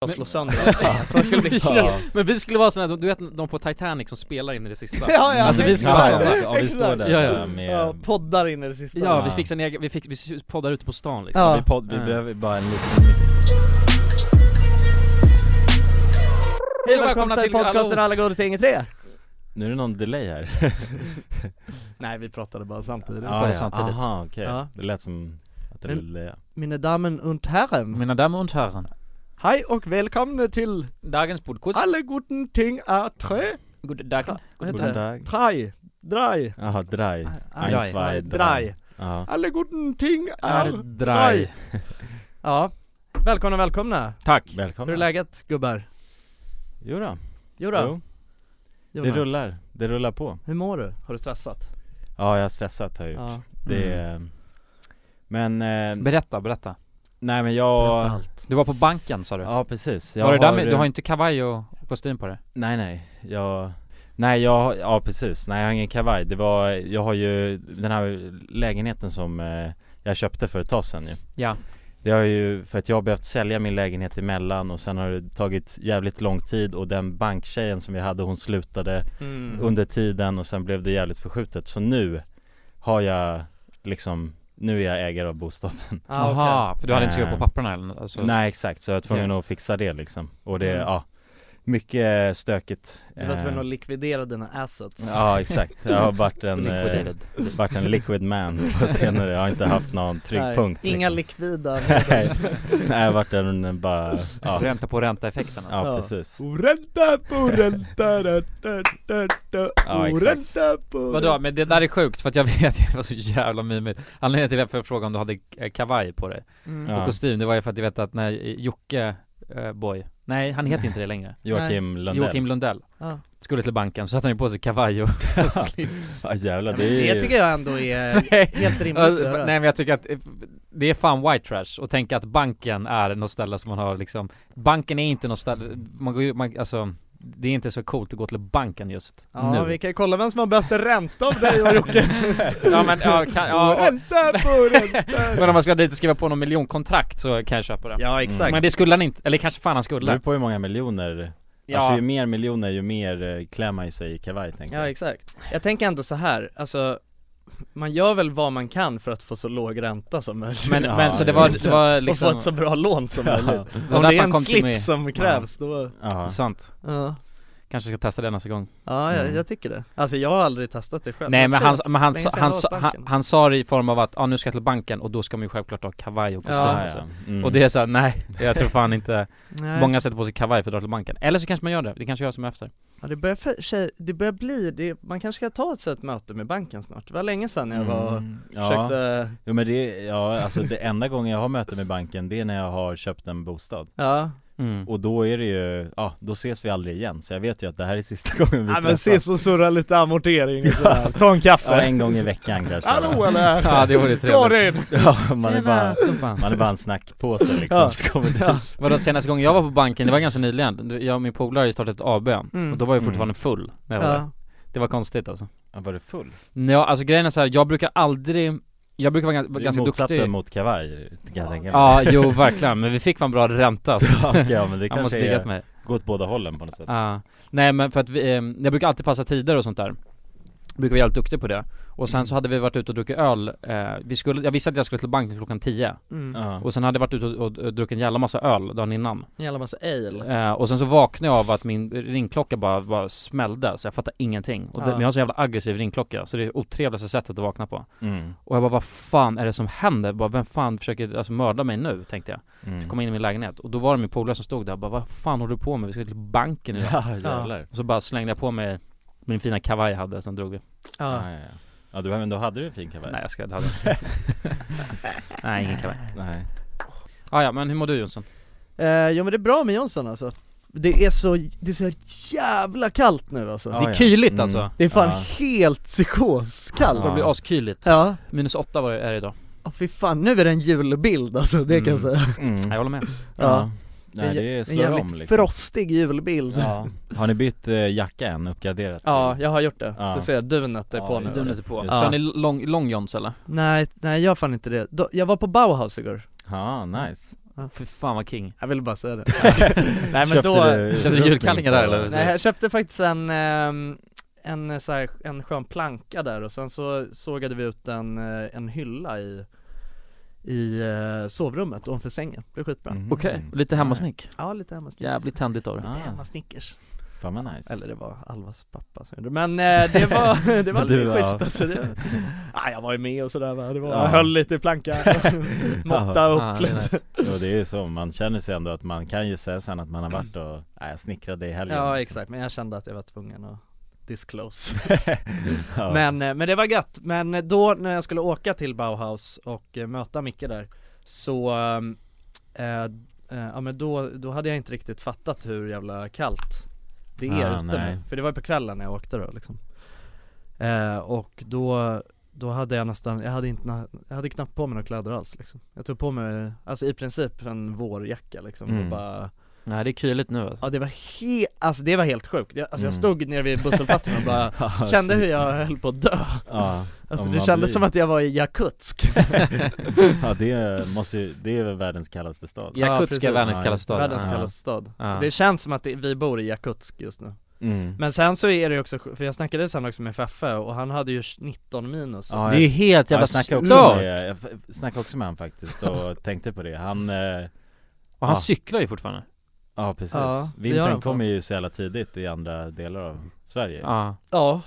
bara slå sönder allting, för de skulle bli helt... Ja. Men vi skulle vara såna, du vet de på Titanic som spelar in i det sista? Ja, ja, alltså vi skulle vara exakt. såna ja, vi står där Ja, ja. eh, med Ja, poddar in i det sista Ja, vi Ja. fixar en egen, vi, fix, vi poddar ute på stan liksom Ja. Vi, podd, vi Ja. behöver bara en liten Hej och välkomna till podcasten Alla goda ting i tre Nu är det någon delay här Nej vi pratade bara samtidigt Ja, ja. Aha, okej Ja. Det lät som att det Men- ville ja. Mina damen und herren Mina damer och herrar, Hej och välkomna till Dagens podcast Alla goda ting är tre God dag Vad Guten heter det? Tag Drei Drei Jaha, drei Drei. Eins, zwei, Drei Ja, Alla goda ting är Är drei. drei Ja, välkomna välkomna tack! Hur är välkomna läget gubbar? Jo då. Jo då, Jo, det Jonas. rullar, det rullar på Hur mår du? Har du stressat? Ja, jag har stressat har jag gjort Ja, Det Men, eh, Berätta, berätta. nej men berätta jag allt Du var på banken sa du? Ja precis, jag var det där med, har- du har inte kavaj och och kostym på dig? Nej nej, jag Nej jag, ja precis, nej jag har ingen kavaj Det var, jag har ju den här lägenheten som eh, jag köpte för ett tag sedan ju Ja. Det har ju, för att jag har behövt sälja min lägenhet emellan och sen har det tagit jävligt lång tid och den banktjejen som vi hade hon slutade Mm. under tiden och sen blev det jävligt förskjutet Så nu har jag liksom, nu är jag ägare av bostaden Ah, okej. Aha, för du hade inte skrivit på Eh, papperna eller något, alltså, Nej exakt, så jag var tvungen att fixa det liksom Och det, Mm. ja Mycket stökigt Du var tvungen Eh, att likvidera dina assets Ja exakt, jag har varit en, eh, varit en liquid man på senare, jag har inte haft någon trygg Nej, punkt Inga liksom. likvida Nej, nej, jag har varit en eh, bara, ja, Ränta på ränta-effekten alltså. ja Ja. precis Oränta på ränta, da, da, da, da. Ja, exakt. oränta på Vadå, men det där är sjukt för att jag vet, det var så jävla mimigt Anledningen till att jag frågade om du hade eh, kavaj på dig Mm. ja. och kostym, det var ju för att jag vet att när Jocke eh, Boy, nej han heter inte det längre Joakim Lundell Joakim Lundell Ja. skulle till banken så hade han ju på sig kavaj och, och slips Ja jävlar Ja, det men är det ju, tycker jag ändå är Nej. helt rimligt att Alltså, göra. nej men jag tycker att eh, det är fan white trash och tänka att banken är något ställe som man har liksom Banken är inte något ställe, man går ju, man, alltså det är inte så coolt att gå till banken just Ja nu vi kan kolla vem som har bäst ränta av dig och Jocke Ja men ja, kan, ja, och, Oränta på ränta Men om man ska dit och skriva på någon miljonkontrakt så kan jag köpa det Ja exakt. exakt Men det skulle han inte, eller kanske fan han det beror skulle på hur många miljoner Ja. Mm. Alltså ju mer miljoner ju mer eh, klär man ju sig i kavaj tänker Ja jag exakt Jag tänker ändå så här, alltså Man gör väl vad man kan för att få så låg ränta som möjligt Men, Ja, men så det var, det var Och liksom få ett så bra lån som Ja. möjligt det var Om därför det är han en kom till mig. slips som krävs då Ja, Sant, Ja, kanske ska testa det nästa gång ja jag, Mm. jag tycker det Alltså jag har aldrig testat det själv Nej men han, men han, länge sa- sedan han, jag sa- var hos han, banken. han sa det i form av att ah, nu ska jag till banken och då ska man ju självklart ha kavaj och kostym Ja, ja, alltså. ja. Mm. Och det är såhär, nej jag tror fan inte Nej. Många sätter på sig kavaj för att dra till banken. Eller så kanske man gör det, det kanske jag som är efter. Ja det börjar, för, tjej, det börjar bli, det, man kanske ska ta ett sånt möte med banken snart, det var länge sedan jag var och Mm. ja. försökte, Jo men det, ja alltså det enda gången jag har möte med banken det är när jag har köpt en bostad ja, Mm. Och då är det ju, ja då ses vi aldrig igen så jag vet ju att det här är sista gången vi ja men träffas. ses och surra lite amortering och sådär, ta en kaffe Ja en gång i veckan kanske Hallå eller? Ja det vore Går trevligt. in! Ja man är bara, Stumpan. man är bara en snackpåse liksom Ja. så kommer det Vadå senaste gången jag var på banken, det var ganska nyligen, Du- jag och min polare hade startat ett AB Mm. och då var jag Mm. fortfarande full när jag var där. Ja, Det var konstigt alltså. ja, Var du full? Ja alltså grejen är så här, jag brukar aldrig, jag brukar vara ganska, Det är vara ganska motsatsen duktig. mot kavaj kan jag tänka mig Ja jo verkligen, men vi fick fan bra ränta så ja okej, ja, men det han måste kanske diggat är, mig. gå åt båda hållen på något sätt Ja. Nej men för att vi, eh, jag brukar alltid passa tider och sånt där Brukar vara jävligt duktig på det Och sen så hade vi varit ute och druckit öl, eh, vi skulle, jag visste att jag skulle till banken klockan 10 mm. Ja, Och sen hade jag varit ute och, och, och druckit en jävla massa öl dagen innan en jävla massa ale eh, Och sen så vaknade jag av att min ringklocka bara, bara smällde så jag fattade ingenting Och det, Ja. men jag har så jävla aggressiv ringklocka så det är otrevligaste sättet att vakna på mm. Och jag bara vad fan är det som händer? Bara, vem fan försöker alltså, mörda mig nu? Tänkte jag Mm. Kom in i min lägenhet och då var det min polare som stod där och bara vad fan håller du på med? Vi ska till banken idag Ja jävlar och så bara slängde jag på mig min fina kavaj jag hade, sen drog vi. Ja, Ja, ja, ja. ja du, men då hade du en fin kavaj Nej jag skojar, det hade jag inte. Nej ingen kavaj. Nej. Ah, ja men hur mår du Jonsson? eh, jo men det är bra med Jonsson alltså Det är så, det är så jävla kallt nu alltså Ja, Mm. det är kyligt alltså. Det är fan Ja. helt psykoskallt Det Ja. blir askyligt. Ja, Minus åtta var det är det idag. oh, fy fan nu är det en julbild alltså, det kan jag Mm. säga Mm. Nej, jag håller med. Ja Ja. Nej det en slår jävligt om liksom frostig julbild ja. Har ni bytt eh, jacka än? Uppgraderat? Ja, jag har gjort det. Mm. Ja. Du ser, dunet är Ja, på just nu det. Dunet är på. Just det. Kör ni lång, lång Johns eller? Nej, nej jag har fan inte det. Då, jag var på Bauhaus igår Ja, ah, nice Ja. Fy fan vad king Jag ville bara säga det Nej men då- Köpte du julkallingar där, eller? Nej jag köpte faktiskt en, ehm, en, så här, en skön planka där och sen så sågade vi ut en, eh, en hylla i i eh, sovrummet ovanför sängen, det blev skitbra Mhm. Okej, lite hemmasnick Ja lite hemmasnickers Jävligt tändigt av det Ah. Lite hemmasnickers Fan vad nice Eller det var Alvas pappa som gjorde det. Men eh, det var, det var Men du, lite schysst ja. alltså det, ah, Jag var ju med och sådär va, det var, Ja. jag höll lite i planka Måtta upp Ja, Ah, det är lite Jo det är ju så, man känner sig ändå att man kan ju säga sen att man har varit och, nej jag snickrade i helgen Ja liksom. exakt, men jag kände att jag var tvungen att disclose ja. Men, eh, men det var gött, men då när jag skulle åka till Bauhaus och eh, möta Micke där Så, ehm, eh, eh, ja men då, då hade jag inte riktigt fattat hur jävla kallt det är Ah, ute nej. nu För det var ju på kvällen när jag åkte då liksom eh, Och då, då hade jag nästan, jag hade inte, na- jag hade knappt på mig några kläder alls liksom Jag tog på mig, alltså i princip en vårjacka liksom Mm. och bara Nej det är kyligt nu alltså. Ja det var helt, alltså det var helt sjukt Jag, alltså jag Mm. stod nere vid busshållplatsen och bara Ja, Kände shit. hur jag höll på att dö Ja, Alltså om det man kändes blir- som att jag var i Jakutsk ja det måste ju, det är väl världens kallaste stad Ja, Jakutsk är precis. världens Ja, kallaste stad Världens Ja. kallaste stad Ja. Det känns som att det, vi bor i Jakutsk just nu mm. Men sen så är det ju också, för jag snackade sen också med Feffe och han hade ju 19 minus Ja, Det är ju jag- helt jävla jag snackade också stört! med, jag f- snackade också med han faktiskt och tänkte på det, han, eh, Och han Ja. cyklar ju fortfarande ja precis Ja, det gör Vintern han fan. kommer ju så jävla tidigt i andra delar av Sverige Ja, Ja,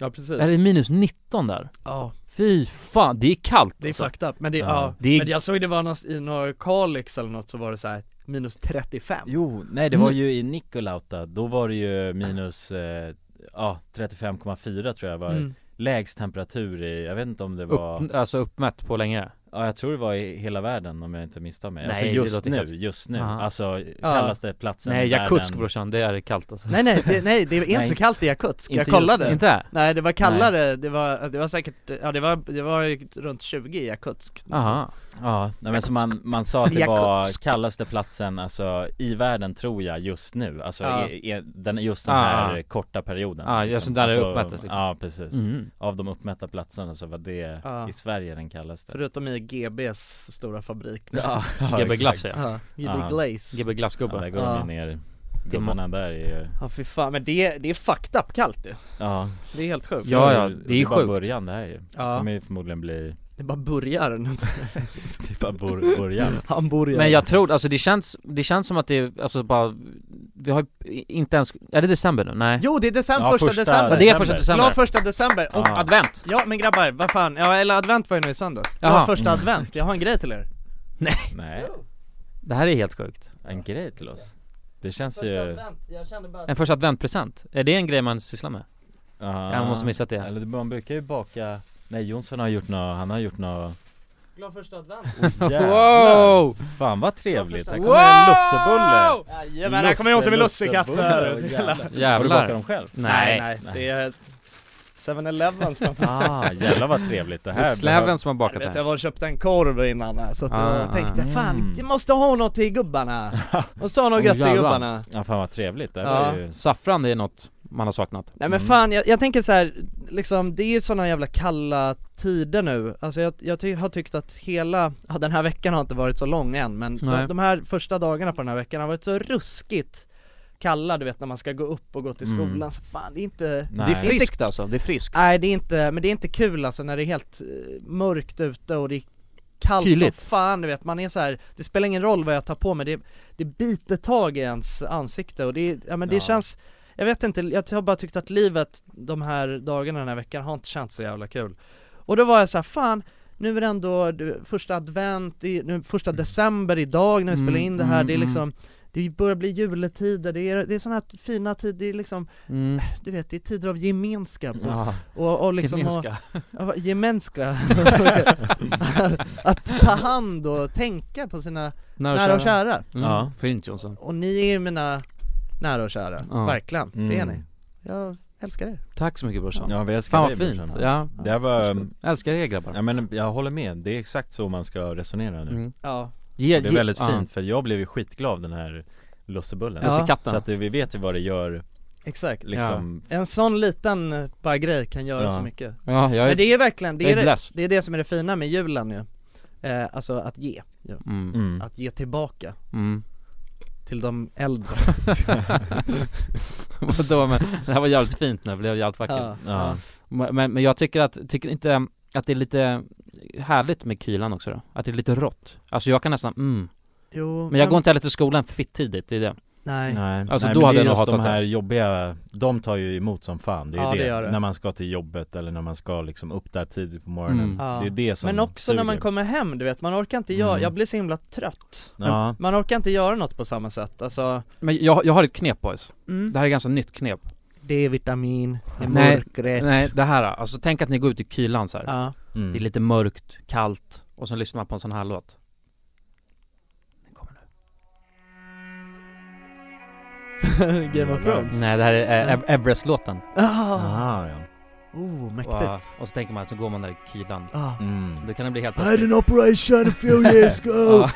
ja precis är det minus 19 där? Ja, Fy fan, det är kallt det är alltså. fucked up Men det, ja. Ja. Det är- men jag såg det var någonstans i några Kalix eller något så var det så här minus 35 Jo, nej det var ju i Nikolauta, då var det ju minus, eh, ja 35,4 tror jag var Mm. lägst temperatur i, jag vet inte om det var, Upp, alltså uppmätt på länge ja jag tror det var i hela världen om jag inte misstar mig Nej, Alltså det just låter nu, helt- just nu, Aha. alltså kallaste platsen Nej i Jakutsk världen. brorsan, det är kallt alltså Nej nej, det, nej det är inte Nej. så kallt i Jakutsk, jag Inte just kollade Inte? Nej det var kallare, det var, det var säkert, ja det var, det var ju runt 20 i Jakutsk Aha. Ja, nej, men så man, man sa att det var Jakutsk. kallaste platsen alltså i världen tror jag just nu, alltså Ja. i, i, den, just den Ja, här ja. korta perioden Alltså, Ja, Ah. just där det uppmättes, liksom. Ja precis, Mm. av de uppmätta platserna så var det Ja. i Sverige den kallaste Förutom i GBs stora fabrik Ja, GB exakt. Glass ja. Ja, GB Ja. Glaze GB Ja, där Glassgubbe. går Ja. de ju ner Gubbarna där är ju, Ja fy fan, men det, det är fucked up kallt ju ja Det är helt sjukt Ja, ja, det är bara sjukt. början det här ju Det ja kommer ju förmodligen bli, det bara börjar nu det är bara bor, början Hamburgare Men jag tror, alltså det känns, det känns som att det är, alltså bara, vi har ju inte ens, är det december nu? Nej? Jo det är december, Ja, första, första- Ja, december! det är första Glad december. första december! Och, Ja. Advent! Ja men grabbar, vad fan, ja eller advent var ju nu i söndags Glad Jaha. första advent, jag har en grej till er Nej, Det här är helt sjukt. en grej till oss Det känns ju, jag kände bara En första adventpresent. Är det en grej man sysslar med? ja, Jag måste missat det. Eller man brukar ju baka, nej Jonsson har gjort nå, han har gjort nå Glad första advent Jävlar! Fan vad trevligt, här kommer en lussebulle! Jajamän, här kommer Jonsson med lussekatter! Jävlar! Har du bakat Jävlar. dem själv? Nej. nej, det är 7-Eleven som har Ah, jävlar vad trevligt det Det är här släven som har Jag bakat det vet, här. jag var och köpte en korv innan här, så att Ah, jag tänkte ah, fan, mm. jag måste ha något till gubbarna! Måste ha något Åh, gött till jävlar. gubbarna! Ja fan vad trevligt, det här Ja. var ju Saffran det är något man har saknat. Nej men Mm. fan, jag, jag tänker så här, liksom det är ju såna jävla kalla tider nu, alltså jag, jag ty- har tyckt att hela, ja, den här veckan har inte varit så lång än men de, Nej. de här första dagarna på den här veckan har varit så ruskigt kalla du vet när man ska gå upp och gå till Mm. skolan, så fan det är inte Det Nej. är friskt alltså, det är friskt. Nej det är inte, men det är inte kul alltså när det är helt eh, mörkt ute och det är kallt Kyligt. som fan du vet, man är så här, det spelar ingen roll vad jag tar på mig, det, det biter tag i ens ansikte och det, är- ja men det Ja. känns Jag vet inte, jag har bara tyckt att livet de här dagarna den här veckan har inte känts så jävla kul Och då var jag så här, fan nu är det ändå du, första advent, i, nu, första december idag när vi Mm, spelar in det här, mm, det är mm. liksom Det börjar bli juletider, det är, det är sådana här fina tider, det är liksom, Mm. du vet det är tider av gemenskap och, Ja, och, och liksom ha, kinesiska. Ja, vad- Gemenska Att ta hand och tänka på sina nära och kära Mm. Ja. Fint Jonsson. Och ni är ju mina nära och kära, Ja. verkligen, det är Mm. ni Jag älskar er Tack så mycket brorsan. Ja vi älskar Fan vad dig, fint. brorsan. Ja. Det här var, Älskar er grabbar. ja men jag håller med, det är exakt så man ska resonera nu Mm. Ja, Ge, Det är väldigt fint för jag blev ju skitglad av den här lussebullen Jag ser Ja. katten. Så att det- vi vet ju vad det gör exakt liksom En sån liten eh, bara grej kan göra Ja. så mycket ja, jag är, Men det är verkligen, det jag är är det, blessed. det är det som är det fina med julen ju eh, Alltså att ge ja. Mm. Mm. Att ge tillbaka Mm. till de äldre Vadå men, det här var jävligt fint nu, det blev jävligt vackert Ja. Ja. men, men men jag tycker att, tycker inte att det är lite härligt med kylan också då? Att det är lite rått? Alltså jag kan nästan, mm. Jo, Men jag går inte heller till skolan fitt tidigt, det är det Nej, Nej, Alltså, Nej då men hade det är jag nog just de hatat det. här jobbiga, de tar ju emot som fan, det är Ja, ju det. det gör det. När man ska till jobbet eller när man ska liksom upp där tidigt på morgonen Mm. Ja. Det är det som Men också när man suger. kommer hem, du vet, man orkar inte göra, Mm. jag blir så himla trött Ja, Man orkar inte göra något på samma sätt, alltså Men jag, jag har ett knep boys, mm. det här är ganska nytt knep D-vitamin, det är Nej, mörkret Nej det här, alltså tänk att ni går ut i kylan så här. Ja, mm. det är lite mörkt, kallt och så lyssnar man på en sån här låt Den kommer nu. Game of Thrones Nej det här är eh, Everest-låten Ah, Aha, ja. oh, och, mäktigt och så tänker man, så går man där i kylan ah. mm. Då kan det bli helt I had an operation a few years ago.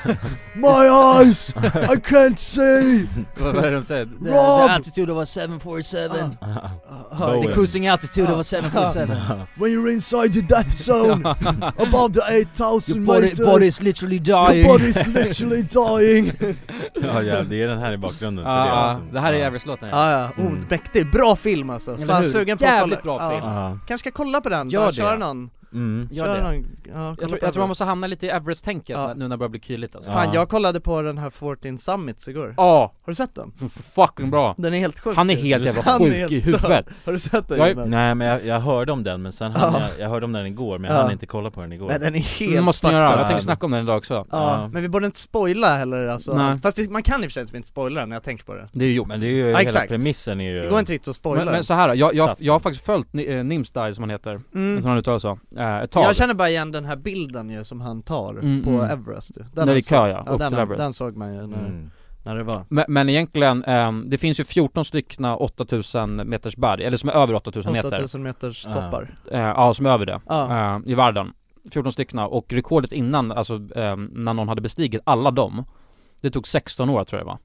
Ja, My eyes, I can't see. vad vad är det de säger? The, Rob! the altitude of a 747 Ah, The Boeing. cruising altitude of a 747 Ah. When you're inside the death zone, above the 8,000 Your body, meters, body is literally your dying body's literally dying. ja, ja, det är den här i bakgrunden för Ja, det, ja, alltså. det här är Ja. Everest-låten ja. Ja, ja, oh, Mm. mäktigt, bra film alltså, Eller fan hur? sugen på Jävligt att kolla bra Ja. film. Ja, Kanske ska kolla på den, Gör bara det. köra någon, mm. Gör köra det. någon, ja, kolla Jag tror, på jag tror man Everest. måste hamna lite i Everest-tänket Ja. nu när det börjar bli kyligt alltså. Ja. Fan jag kollade på den här 14 Summits igår, Ja, har du sett den? fucking bra! Den är helt sjuk Han är ju. helt jävla Han är sjuk helt i huvudet! Har du sett den? Jag är- Jonas? Nej men jag, jag hörde om den men sen hann Ja. jag, jag hörde om den igår men Ja. jag hann inte kolla på den igår Nej den är helt Det måste ni fucked göra, up. jag tänkte snacka om den idag också Ja, Ja. men vi borde inte spoila heller alltså Nej. Fast det, man kan i och för sig typ inte spoila den när jag tänker på det Det är ju gjort Men det är ju, hela exakt. premissen är ju Det går inte riktigt att spoila men, men den. så här, då, jag, jag, Satt. jag har faktiskt följt Ni- eh, Nimsdai som han heter, mm. som han uttalar så, eh, ett tag Jag känner bara igen den här bilden ju som han tar Mm, på mm. Everest ju. Den När det är såg- kö ja, ja, upp till den, Everest den såg man ju när, Mm. när det var Men, men egentligen, ehm, det finns ju 14 stycken 8000 meters berg, eller som är över 8000 meter 8000 meters Ja. toppar Eh, Ja, som är över det, Ja, eh, i världen 14 stycken, och rekordet innan, alltså ehm, när någon hade bestigit alla dem Det tog 16 år tror jag det var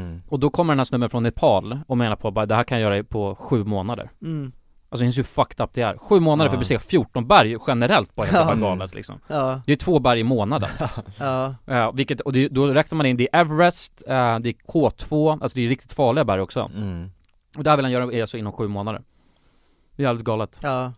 Mm. Och då kommer den här snubben från Nepal och menar på bara, det här kan jag göra på sju månader mm. Alltså det är ju fucked up det är, sju månader Ja. för att bestiga 14 berg generellt bara, helt Ja. jävla galet liksom ja, Det är två berg i månaden, ja, eh, vilket, och det, då räknar man in, det är Everest, eh, det är K2, alltså det är riktigt farliga berg också Mm. Och det här vill han göra alltså inom sju månader Det är jävligt galet ja,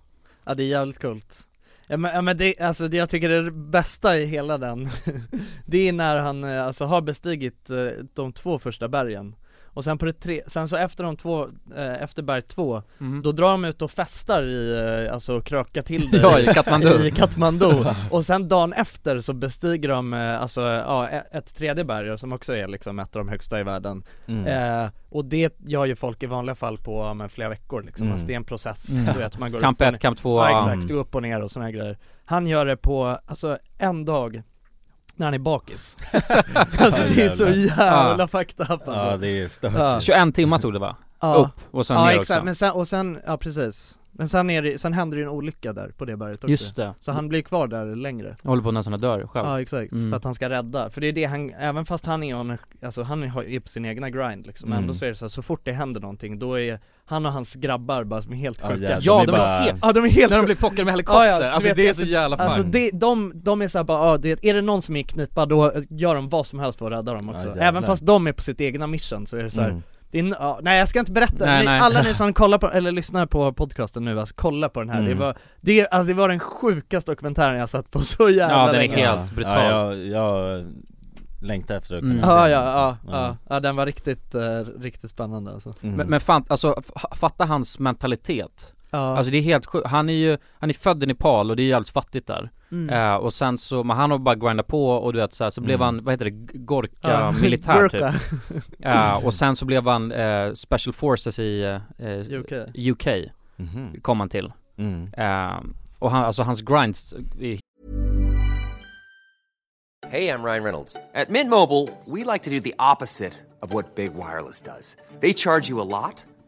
ja det är jävligt coolt Ja men, ja, men det, alltså det jag tycker är det bästa i hela den Det är när han eh, alltså har bestigit eh, de två första bergen Och sen på det tre, sen så efter de två, eh, efter berg två Då drar de ut och festar i, eh, alltså krökar till det Ja, i- i Katmandu i Katmandu Och sen dagen efter så bestiger de, eh, alltså eh, ja, e- ett tredje berg som också är liksom ett av de högsta i världen Mm. eh, Och det gör ju folk i vanliga fall på ja, men, flera veckor liksom, Mm. alltså det är en process Mm. du vet, man går Kamp upp och 1, kamp 2, Ja ja, exakt, gå upp och ner och såna här grejer Han gör det på, alltså en dag när han är bakis Alltså det är så jävla fucked up alltså Ja det är stört Ja. 21 timmar tog det va? Ja. Upp och sen Ja ner exakt, också men sen, och sen, ja precis Men sen, är det, sen händer det ju en olycka där på det berget också Just det, Så han blir kvar där längre jag håller på att nästan jag dör Ja, själv exakt, Mm. för att han ska rädda, för det är det han, även fast han är on, alltså han har- är på sin egna grind liksom, Mm. ändå så är det så, här, så fort det händer någonting då är han och hans grabbar bara som är helt Ja, sjuka jävlar. Ja, Det de är är bara- helt... Ja de är helt När de sjuka. blir plockade med helikopter, Ja, ja, du alltså vet, det är alltså- så jävla Alltså fun. det, de, de är såhär bara, ah, det, är det någon som är i knipa då gör de vad som helst för att rädda dem också Ja, jävlar. Även fast de är på sitt egna mission så är det såhär, Mm. det är, n- ja, nej jag ska inte berätta, Nej, ni, nej. alla ni som kollar på, eller lyssnar på podcasten nu, alltså kolla på den här, Mm. det var, det, alltså, det var den sjukaste dokumentären jag satt på så jävla Ja, den är länge helt ja. brutal. Ja, jag, jag längtar efter att kunna Mm. se Ja, ja, den, ja, alltså. ja, ja, den var riktigt, eh, riktigt spännande alltså Mm. Men, men fan, alltså f- fatta hans mentalitet Ja, Alltså det är helt sjukt, han är ju, han är född i Nepal och det är jävligt fattigt där Mm. eh, Och sen så, men han har bara grindat på och du vet så, här, så blev Mm. han, vad heter det, g- Gorka militär typ Burka. ja, Och sen så blev han eh, Special Forces i eh, eh, UK UK, Mhm. kom han till Mm. eh, Ehm, Och han, alltså hans grinds är Hey, I'm Ryan Reynolds. At Mint Mobile, we like to do the opposite of what Big Wireless does. They charge you a lot,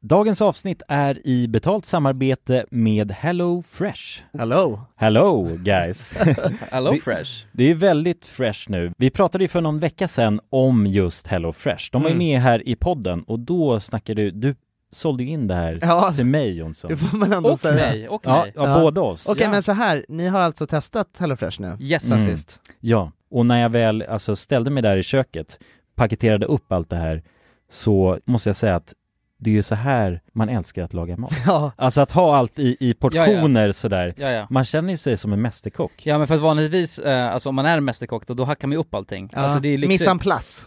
Dagens avsnitt är i betalt samarbete med Hello Fresh. Hello! Hello guys! Hello Vi- Fresh Det är väldigt fresh nu. Vi pratade ju för någon vecka sedan om just Hello Fresh. De var ju med här i podden och då snackade du, du sålde ju in det här Ja, till mig Jonsson. det får man ändå Och säga. mig, och Ja, mig ja, Ja. båda oss. Okej Ja. men så här, ni har alltså testat HelloFresh nu? Yes Mm. Sist. Ja, och när jag väl alltså, ställde mig där i köket, paketerade upp allt det här, så måste jag säga att det är ju så här man älskar att laga mat. Ja, Alltså att ha allt i, i portioner sådär. Ja ja Man känner ju sig som en mästerkock. Ja men för att vanligtvis, eh, alltså om man är en mästerkock då, då hackar man ju upp allting ja. Alltså det är liksom, Mise en place.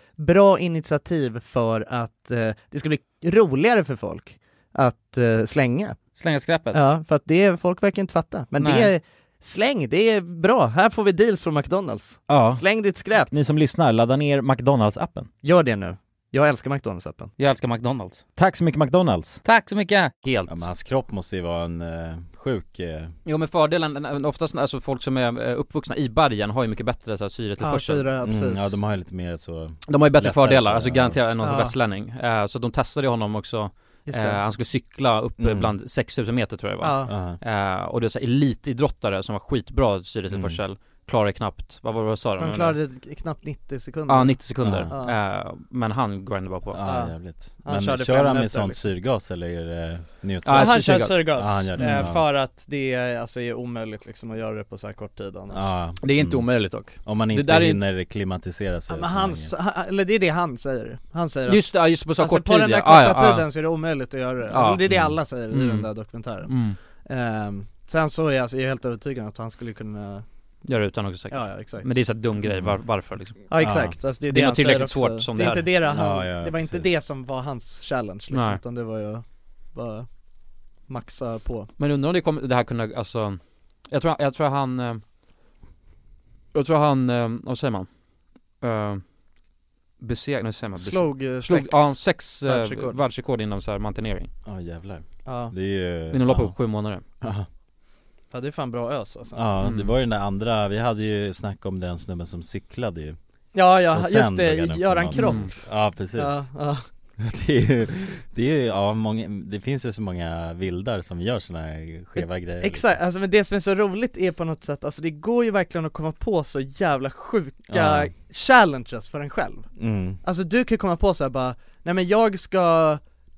bra initiativ för att eh, det ska bli roligare för folk att eh, slänga. Slänga skräpet? Ja, för att det, folk verkar inte fatta. Men det Nej. är, släng, det är bra. Här får vi deals från McDonalds. Ja. Släng ditt skräp. Ni som lyssnar, ladda ner McDonalds-appen. Gör det nu. Jag älskar McDonalds-appen. Jag älskar McDonalds. Tack så mycket McDonalds! Tack så mycket! Helt. Ja, men hans kropp måste ju vara en eh, sjuk... Eh, Jo men fördelen, eh, oftast alltså folk som är eh, uppvuxna i bergen har ju mycket bättre så här, syretillförsel mm, ja, de har ju lite mer så... De har ju bättre lättare fördelar, för- alltså garanterat än någon Ja. ja. västlänning. Eh, så de testade ju honom också Just Eh, det. han skulle cykla upp eh, Mm. bland 6000 meter tror jag det var. Eh, och det var så här elitidrottare som var skitbra syretillförsel, Mm. klarade knappt, vad var det vad sa de? De klarade knappt 90 sekunder. Ja, 90 sekunder. Ja. Eh, men han grindade bara på. Ja, jävligt. Han Men körde kör fem han med minuter, sån liksom. syrgas eller är det eh, Ja, neutral? han Han kör syrgas, Ja, han gör det. eh, Ja. för att det är, alltså, är omöjligt liksom att göra det på så här kort tid annars. Ja. Det är inte omöjligt dock. Mm. Om man Det inte där är ju- hinner klimatisera sig Ja, men så han, länge. han, eller det är det han säger. Han säger Just det, ja, just på så alltså, kort på tid, den där ja. korta Ja, ja, ja. tiden så är det omöjligt att göra det. Ja. Alltså, det är det Mm. alla säger i Mm. den där dokumentären. Mm. Ehm, sen så är jag, alltså, jag är helt övertygad att han skulle kunna Gör det utan också säkert. Ja, ja, exakt. Men det är så här dum grej, var, varför liksom? Ja exakt, Alltså, det är det, han något tillräckligt säger också. svårt som det det, är inte det han, Ja, ja, det var inte det som var hans challenge liksom, Nej. utan det var ju bara maxa på Men undrar om det kommer, det här kunde, alltså Jag tror, jag tror han eh, Jag tror han, eh, vad säger man? Eh, Besegrade, nu säger man beseg- Slog, eh, Slog, sex ja, sex eh, världsrekord. världsrekord. inom så här mantenering Ja jävlar. Ja. Det är ju... Inom loppet av ja. sju månader Ja. Ja det är fan bra ös alltså Ja, det Mm. var ju den där andra, vi hade ju snack om den snubben som cyklade ju Ja, ja, Och sen just det, dog han upp på Göran någon. Kropp. Ja precis Ja, ja. Det är ju, det är ju, ja många, det finns ju så många vildar som gör såna här skeva grejer Exakt, alltså, men det som är så roligt är på något sätt, alltså det går ju verkligen att komma på så jävla sjuka Ja. challenges för en själv Mm. Alltså du kan komma på så här bara, nej men jag ska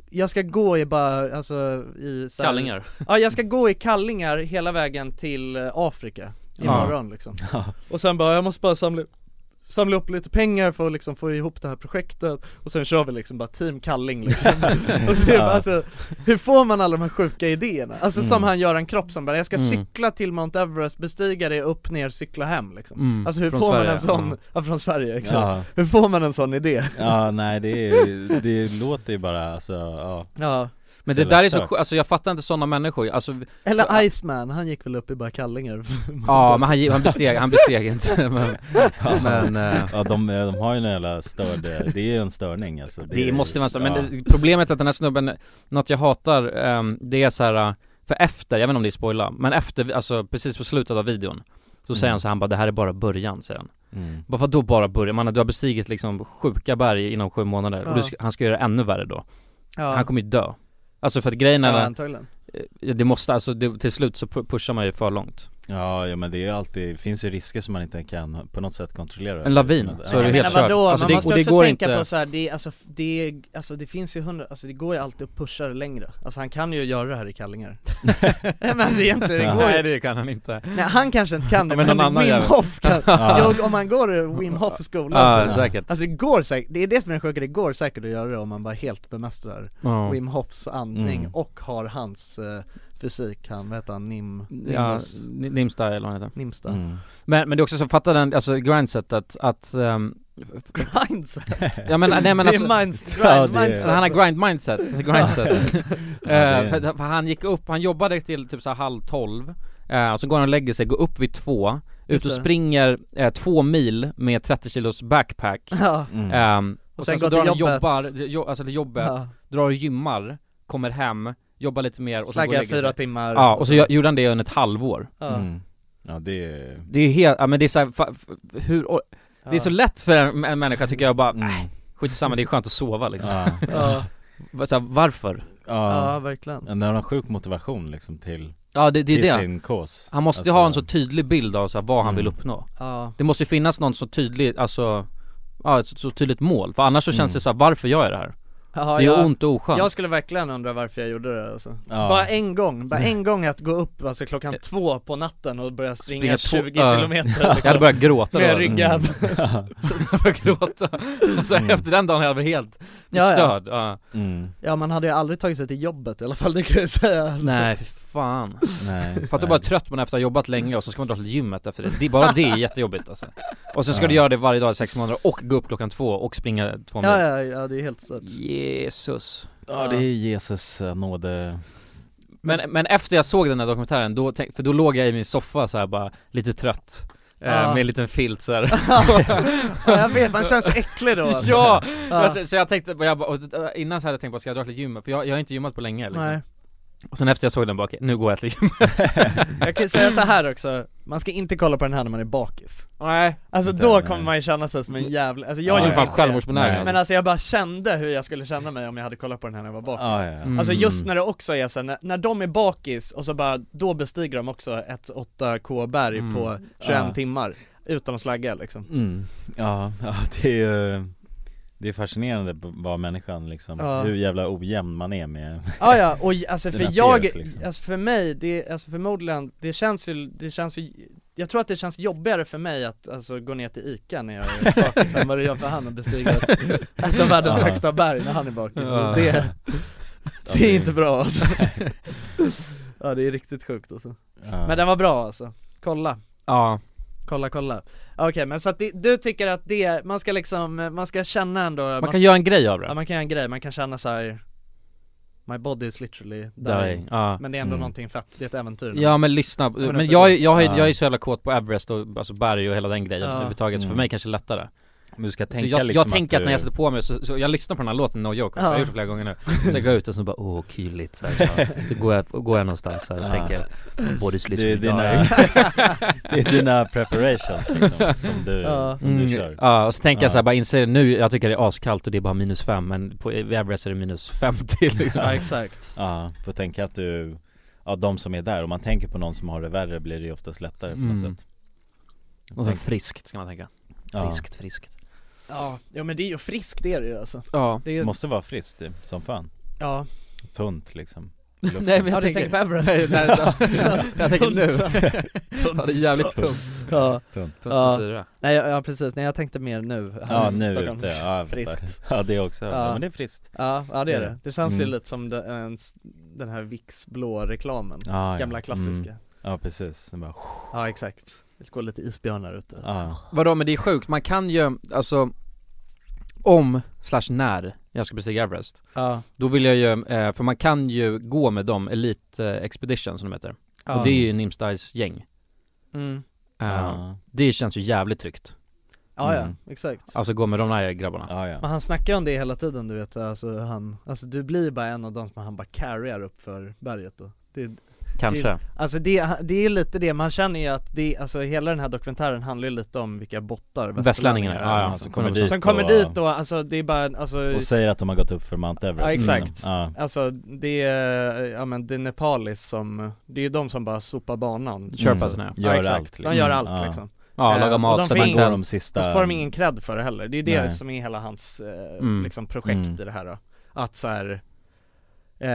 jag ska gå i bara, alltså i så här, Kallingar. Ja jag ska gå i kallingar hela vägen till eh, Afrika imorgon liksom Ja. Och sen bara, jag måste bara samla, samla upp lite pengar för att liksom få ihop det här projektet Och sen kör vi liksom bara team kalling liksom och så, är det bara, Ja. alltså, Hur får man alla de här sjuka idéerna? Alltså som Mm. han gör en kropp som bara, jag ska Mm. cykla till Mount Everest, bestiga det, upp, ner, cykla hem liksom Mm, Alltså hur från får man Sverige, en sån, ja. ja. från Sverige exakt Ja. Hur får man en sån idé? Ja nej det, är, ju- det låter ju bara alltså, ja, Ja. Men Så det där är så stört. sjukt, alltså jag fattar inte sådana människor, alltså Eller Iceman, han gick väl upp i bara kallingar Ja men han, gi- han besteg, han besteg inte men, Ja, men eh, ja de, de har ju en jävla störd, det är ju en störning alltså Det måste vara så, men ja. det- problemet är att den här snubben, något jag hatar, ehm, det är så här eh, för efter, jag vet inte om det är spoila, men efter, alltså precis på slutet av videon Så säger Mm. han så här, han bara det här är bara början, säger han Mm. Bara då bara början? Man, du har bestigit liksom sjuka berg inom sju månader och du, Ja. ska- han ska göra det ännu värre då Ja. Han kommer ju dö Alltså för att grejen Ja, är antagligen. eh, Det måste, alltså det, till slut så pu- pushar man ju för långt Ja, ja men det är ju alltid, det finns ju risker som man inte kan på något sätt kontrollera Mm. En lavin, Ja. så är du helt Men vadå, körd alltså, man det, måste och det också går tänka inte på så här, det, är- alltså, det, är- alltså det finns ju hundra, alltså det går ju alltid att pusha det längre Alltså han kan ju göra det här i kallingar Nej men alltså egentligen, det går ju Nej det kan han inte Nej han kanske inte kan det, Ja, men men, någon annan Wim gör det. Hof kan, Ja. Jo, om man går i Wim Hof skola Ja, så- säkert. Alltså det går säkert, det är det som är det sjuka, det går säkert att göra det om man bara helt bemästrar Ja. Wim Hofs andning Mm. och har hans eh, fysik, han, vad heter han, Nim, Ja, Nimbus Ni- Nimsta eller vad han heter Nimsta. Mm. Men, men det är också så, fatta den, alltså grindsetet att ehm, Mindset! Ja men, nej men det alltså är minds, grind, ja, det mindset Han har grind mindset, grindset Ja, det är- Eh, för- för Han gick upp, han jobbade till typ så här halv tolv eh, och så går han och lägger sig, går upp vid två Ut Just och det. springer eh, två mil med 30 kilos backpack Ja. Mm. Ehm, och, Och sen sen, så går drar till han och jobbet. jobbar, jo, alltså till jobbet, Ja. drar och gymmar, kommer hem, jobbar lite mer och sen Slaggar går och lägger fyra sig. timmar. Ja, och så gör- gjorde han det under ett halvår Ja. Mm. Ja det är det är helt, ja men det är så här, fa, f- hur, och, det är så lätt för en, Mm. en människa tycker jag bara, nej skitsamma det är skönt att sova liksom Ja. Va- så här, varför? Ja, verkligen. När han har sjuk motivation liksom till Ja det, det till är sin det. kås Han måste ju Alltså, ha en så tydlig bild av så här, vad han vill uppnå. Ja. Det måste ju finnas någon så tydlig, alltså, ja, ett så, så tydligt mål. För annars så känns det så här, varför gör jag det här? Ja, det är jag- ont och oskönt. Jag skulle verkligen undra varför jag gjorde det alltså. Ja. Eh. Bara en gång, bara en gång att gå upp alltså klockan två på natten och börja springa, Springa två- 20 ja. kilometer liksom. Jag hade börjat gråta Med då. ryggar Mm. Jag började gråta. Och sen efter den dagen hade jag blivit helt förstörd. Ja, Ja. Mm. ja man hade ju aldrig tagit sig till jobbet i alla fall, det kan jag säga alltså. Nej, fy fan. Nej, För att du bara är trött på den efter att ha jobbat länge och så ska man dra till gymmet efter det. det. Bara det är jättejobbigt alltså. Och sen ska Ja. du göra det varje dag i sex månader och gå upp klockan två och springa två mil. Ja, ja, ja det är helt stört Jesus Ja det är Jesus eh, nåde Men, men efter jag såg den här dokumentären, då, tänk- för då låg jag i min soffa så här bara lite trött eh, Ja. Med en liten filt så här. Ja, jag vet, man känns äcklig då. alltså. Ja! Ja. Så, så jag tänkte, jag bara, och, och, innan så hade jag tänkt bara, ska jag dra till gymmet? För jag, jag har inte gymmat på länge liksom. Nej. Och sen efter jag såg den bara, okej, nu går jag till gymmet Jag kan ju säga så här också, man ska inte kolla på den här när man är bakis Nej Alltså Inte, då nej. kommer man ju känna sig som en jävla, alltså jag Ja, gör fan inte det. självmordsbenägen. Men alltså jag bara kände hur jag skulle känna mig om jag hade kollat på den här när jag var bakis Ja, ja, ja. Alltså Mm. just när det också är så här, när, när de är bakis och så bara, då bestiger de också ett 8k berg Mm. på 21 Ja. timmar Utan att slagga liksom Mm. Ja, ja det är ju Det är fascinerande b- vad människan liksom, Ja. hur jävla ojämn man är med Ja ja, och j- alltså för sina jag, peers, liksom. alltså för mig, det, alltså förmodligen, det känns ju, det känns ju jag tror att det känns jobbigare för mig att alltså, gå ner till ICA när jag är bakis än vad det gör för han att bestiga ett, ett av världens Ja. högsta berg när han är bakis. Ja. Så det, det är inte bra alltså. Ja det är riktigt sjukt alltså. Ja. Men den var bra alltså, kolla Ja Kolla kolla. Okej men så att det, du tycker att det, man ska liksom, man ska känna ändå Man, kan göra en grej av det. Ja man kan göra en grej, man kan känna så här. My body is literally dying, Dying, ja. Men det är ändå Mm. någonting fett, det är ett äventyr Ja men lyssna, Ja, men det- jag, jag, jag, Ja. jag är så jävla kåt på Everest och alltså berg och hela den grejen Ja. överhuvudtaget, så för Mm. mig kanske det är lättare Men du ska Så tänka Alltså, jag, liksom jag tänker att att, du- när jag sätter på mig, så, så jag lyssnar på den här låten No Joke, också, Ja. jag har gjort det flera gånger nu Så jag går ut och så bara åh kyligt så, här, ja. så går, jag, går jag någonstans så här, och Ja. tänker Body slits liksom. Det är idag." dina- det är dina preparations, liksom, som du- ja. som du kör. Mm. Ja, och så tänker jag så Ja. här, bara inser nu, jag tycker det är askallt och det är bara minus fem men på vid Everest är det minus 50 liksom. Ja, exakt. Ja, får tänka att du, ja de som är där, om man tänker på någon som har det värre blir det ju oftast lättare på något Mm. sätt Och sen friskt ska man tänka Ja. Friskt, friskt Ja, ja men det är ju friskt det är det ju alltså Ja, det är ju, måste vara friskt det, som fan Ja. Tunt liksom Nej, men jag Har du tänker- tänkt på Everest? Nej, nej, nej. Jag tänker nu. Tunt. Ja, det är jävligt tunt. Ja. Tunt, ja, nej ja, ja precis, nej jag tänkte mer nu här Ja i nu Stockholm. ute, ja, jag Friskt fattar. Ja det också, ja. men det är friskt Ja, ja det är Det är det. det. Det känns ju Mm. lite som den, en s- den här Vicks blå reklamen, Ja, ja. gamla klassiska Mm. Ja precis, den bara Ja exakt, det går lite isbjörnar ute Ja. Vadå men det är sjukt, man kan ju, alltså Om, slash när, jag ska bestiga Everest Ja. Då vill jag ju, eh, för man kan ju gå med dem, Elite eh, Expedition som de heter Ja. Och det är ju Nimstays gäng Mm. Eh, Ja. Det känns ju jävligt tryggt Ja, ja, Mm. exakt. Alltså gå med de där grabbarna Men han snackar ju om det hela tiden du vet, alltså han, alltså du blir ju bara en av dem som han bara carryar upp för berget då det, Kanske. det, Alltså det, det är lite det, man känner ju att det, alltså hela den här dokumentären handlar ju lite om vilka bottar Västlänningarna, ja, alltså ja, liksom. som kommer dit Som kommer och- dit då, alltså det är bara, alltså Och säger att de har gått upp för Mount Everest Ja exakt, liksom. ja. alltså det är, ja men det är Nepalis som, det är ju de som bara sopar banan Sherpasarna, ja. ja. Gör exakt. allt, liksom. De Mm. gör Mm, allt ja. liksom Ja, Eh, lagar och mat, de sätter får en ingen- korv de sista- Och så får de ingen cred för det heller, det är det Nej. som är hela hans, eh, Mm. liksom projekt Mm. i det här då. Att så här eh,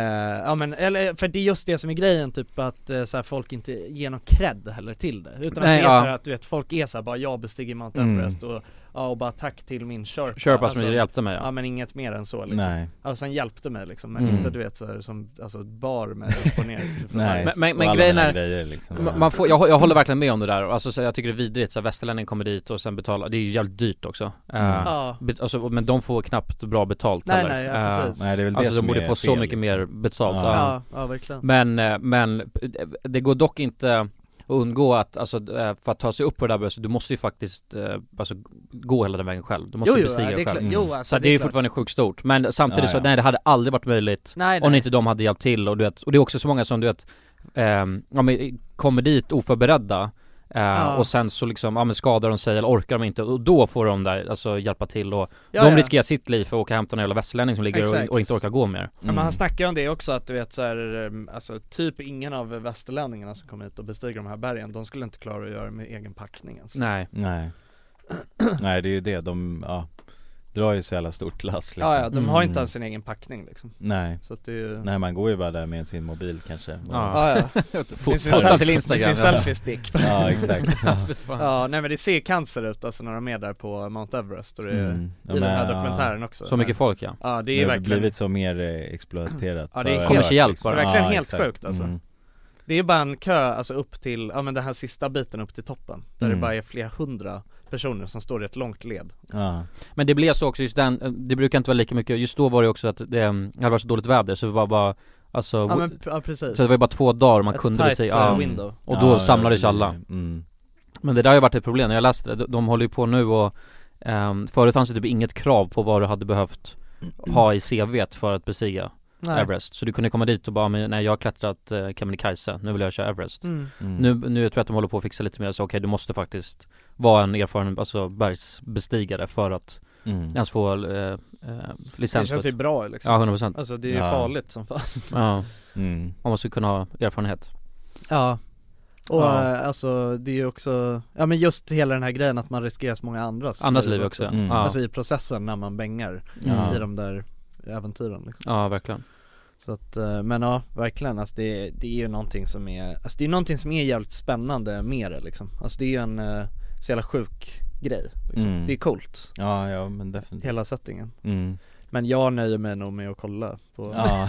ja men eller, för det är just det som är grejen typ att eh, så här, folk inte ger någon cred heller till det Utan Nej, att det är ja. så här, att du vet, folk är så här, bara jag bestiger Mount Mm. Everest och, ja, och bara tack till min Sherpa Sherpa som hjälpte mig, alltså- ja. Ja men inget mer än så liksom Nej. Alltså han hjälpte mig liksom, men Mm. inte du vet så här, som, alltså bar mig upp och ner Men, men, men grejen är, liksom. ma- man får, jag, hå- jag håller verkligen med om det där, alltså så jag tycker det är vidrigt så här, västerlänningen kommer dit och sen betalar, det är ju jävligt dyrt också Eh, Ja. be, alltså, Men de får knappt bra betalt Nej, heller nej, ja, Eh, precis. Nej, det är väl det Alltså som de borde är få så fel, mycket liksom. mer betalt Ja. Ja, ja, verkligen. Men, eh, men eh, det går dock inte att undgå att, alltså eh, för att ta sig upp på det där berget, du måste ju faktiskt eh, alltså, gå hela den vägen själv, du måste Jo, ju jo, bestiga ja, det är det själv Mm. klart. Jo, alltså, Så att det det är är ju klart. fortfarande sjukt stort, men samtidigt Ja, så, ja. nej det hade aldrig varit möjligt Nej, om nej. inte de hade hjälpt till och du vet, och det är också så många som du vet, ehm, ja, men, kommer dit eh, oförberedda Eh, Ja. Och sen så liksom, ja men skadar de sig eller orkar de inte och då får de där, alltså hjälpa till och Ja, de ja. riskerar sitt liv för att åka och hämta någon jävla västerlänning som ligger Exakt. och, och inte orkar gå mer. Ja, men han snackar ju om det också att du vet så här, ehm, alltså typ ingen av västerlänningarna som kom hit och bestiger de här bergen, de skulle inte klara att göra det med egen packning ens. Nej. Nej Nej det är ju det, de, ja Drar ju så jävla stort lass liksom. Ja, ja, de har ju Mm. inte ens sin egen packning liksom. Nej Så att det är ju... Nej man går ju bara där med sin mobil kanske Ja, ja. Med sin Fotar. selfie- Med sin selfie-stick Ja exakt ja. nej men det ser cancer ut alltså när de är där på Mount Everest och det är Mm. Ja, i den men, här ja. dokumentären också Så mycket folk ja. Ja det är har verkligen blivit så mer eh, exploaterat Ja det är har helt, jag hört, helt liksom. bara. verkligen Ja, helt exakt. sjukt alltså Mm. Det är bara en kö, alltså upp till, ja men den här sista biten upp till toppen Där Mm. det bara är flera hundra personer som står i ett långt led Men det blev så också just den, eh, det brukar inte vara lika mycket, just då var det också att det mm, hade varit så dåligt väder så det var bara Alltså, Ja, wo- men p- ja, precis. Så det var ju bara två dagar man Ett kunde väl tight, säga, um, eh, ja, window. och då Ja, samlades det- alla mm. Men det där har ju varit ett problem, när jag läste det, de, de håller ju på nu och um, Förut fanns det typ inget krav på vad du hade behövt ha i CVt för att besiga Nej. Everest Så du kunde komma dit och bara, men, nej jag har klättrat eh, Kebnekaise, nu vill jag köra Everest Mm. Mm. Nu, nu tror jag att de håller på att fixa lite mer, så okej du måste faktiskt vara en erfaren, alltså bergsbestigare för att Mm. ens få eh, eh, licens Det känns ju bra liksom Ja 100% Alltså det är ju farligt som fan Ja, Mm. om man skulle kunna ha erfarenhet Ja och Ja. eh, alltså det är ju också, ja men just hela den här grejen att man riskerar så många andras Andras liv också, ja. Mm. Alltså i processen när man bängar Ja. i de där äventyren liksom. Ja verkligen Så att, eh, men ja verkligen alltså det, det är ju någonting som är, alltså det är någonting som är jävligt spännande med det liksom Alltså det är ju en eh, så jävla sjuk grej liksom. Mm. Det är coolt Ja ja men definitivt Hela settingen Mm. Men jag nöjer mig nog med att kolla på Ja.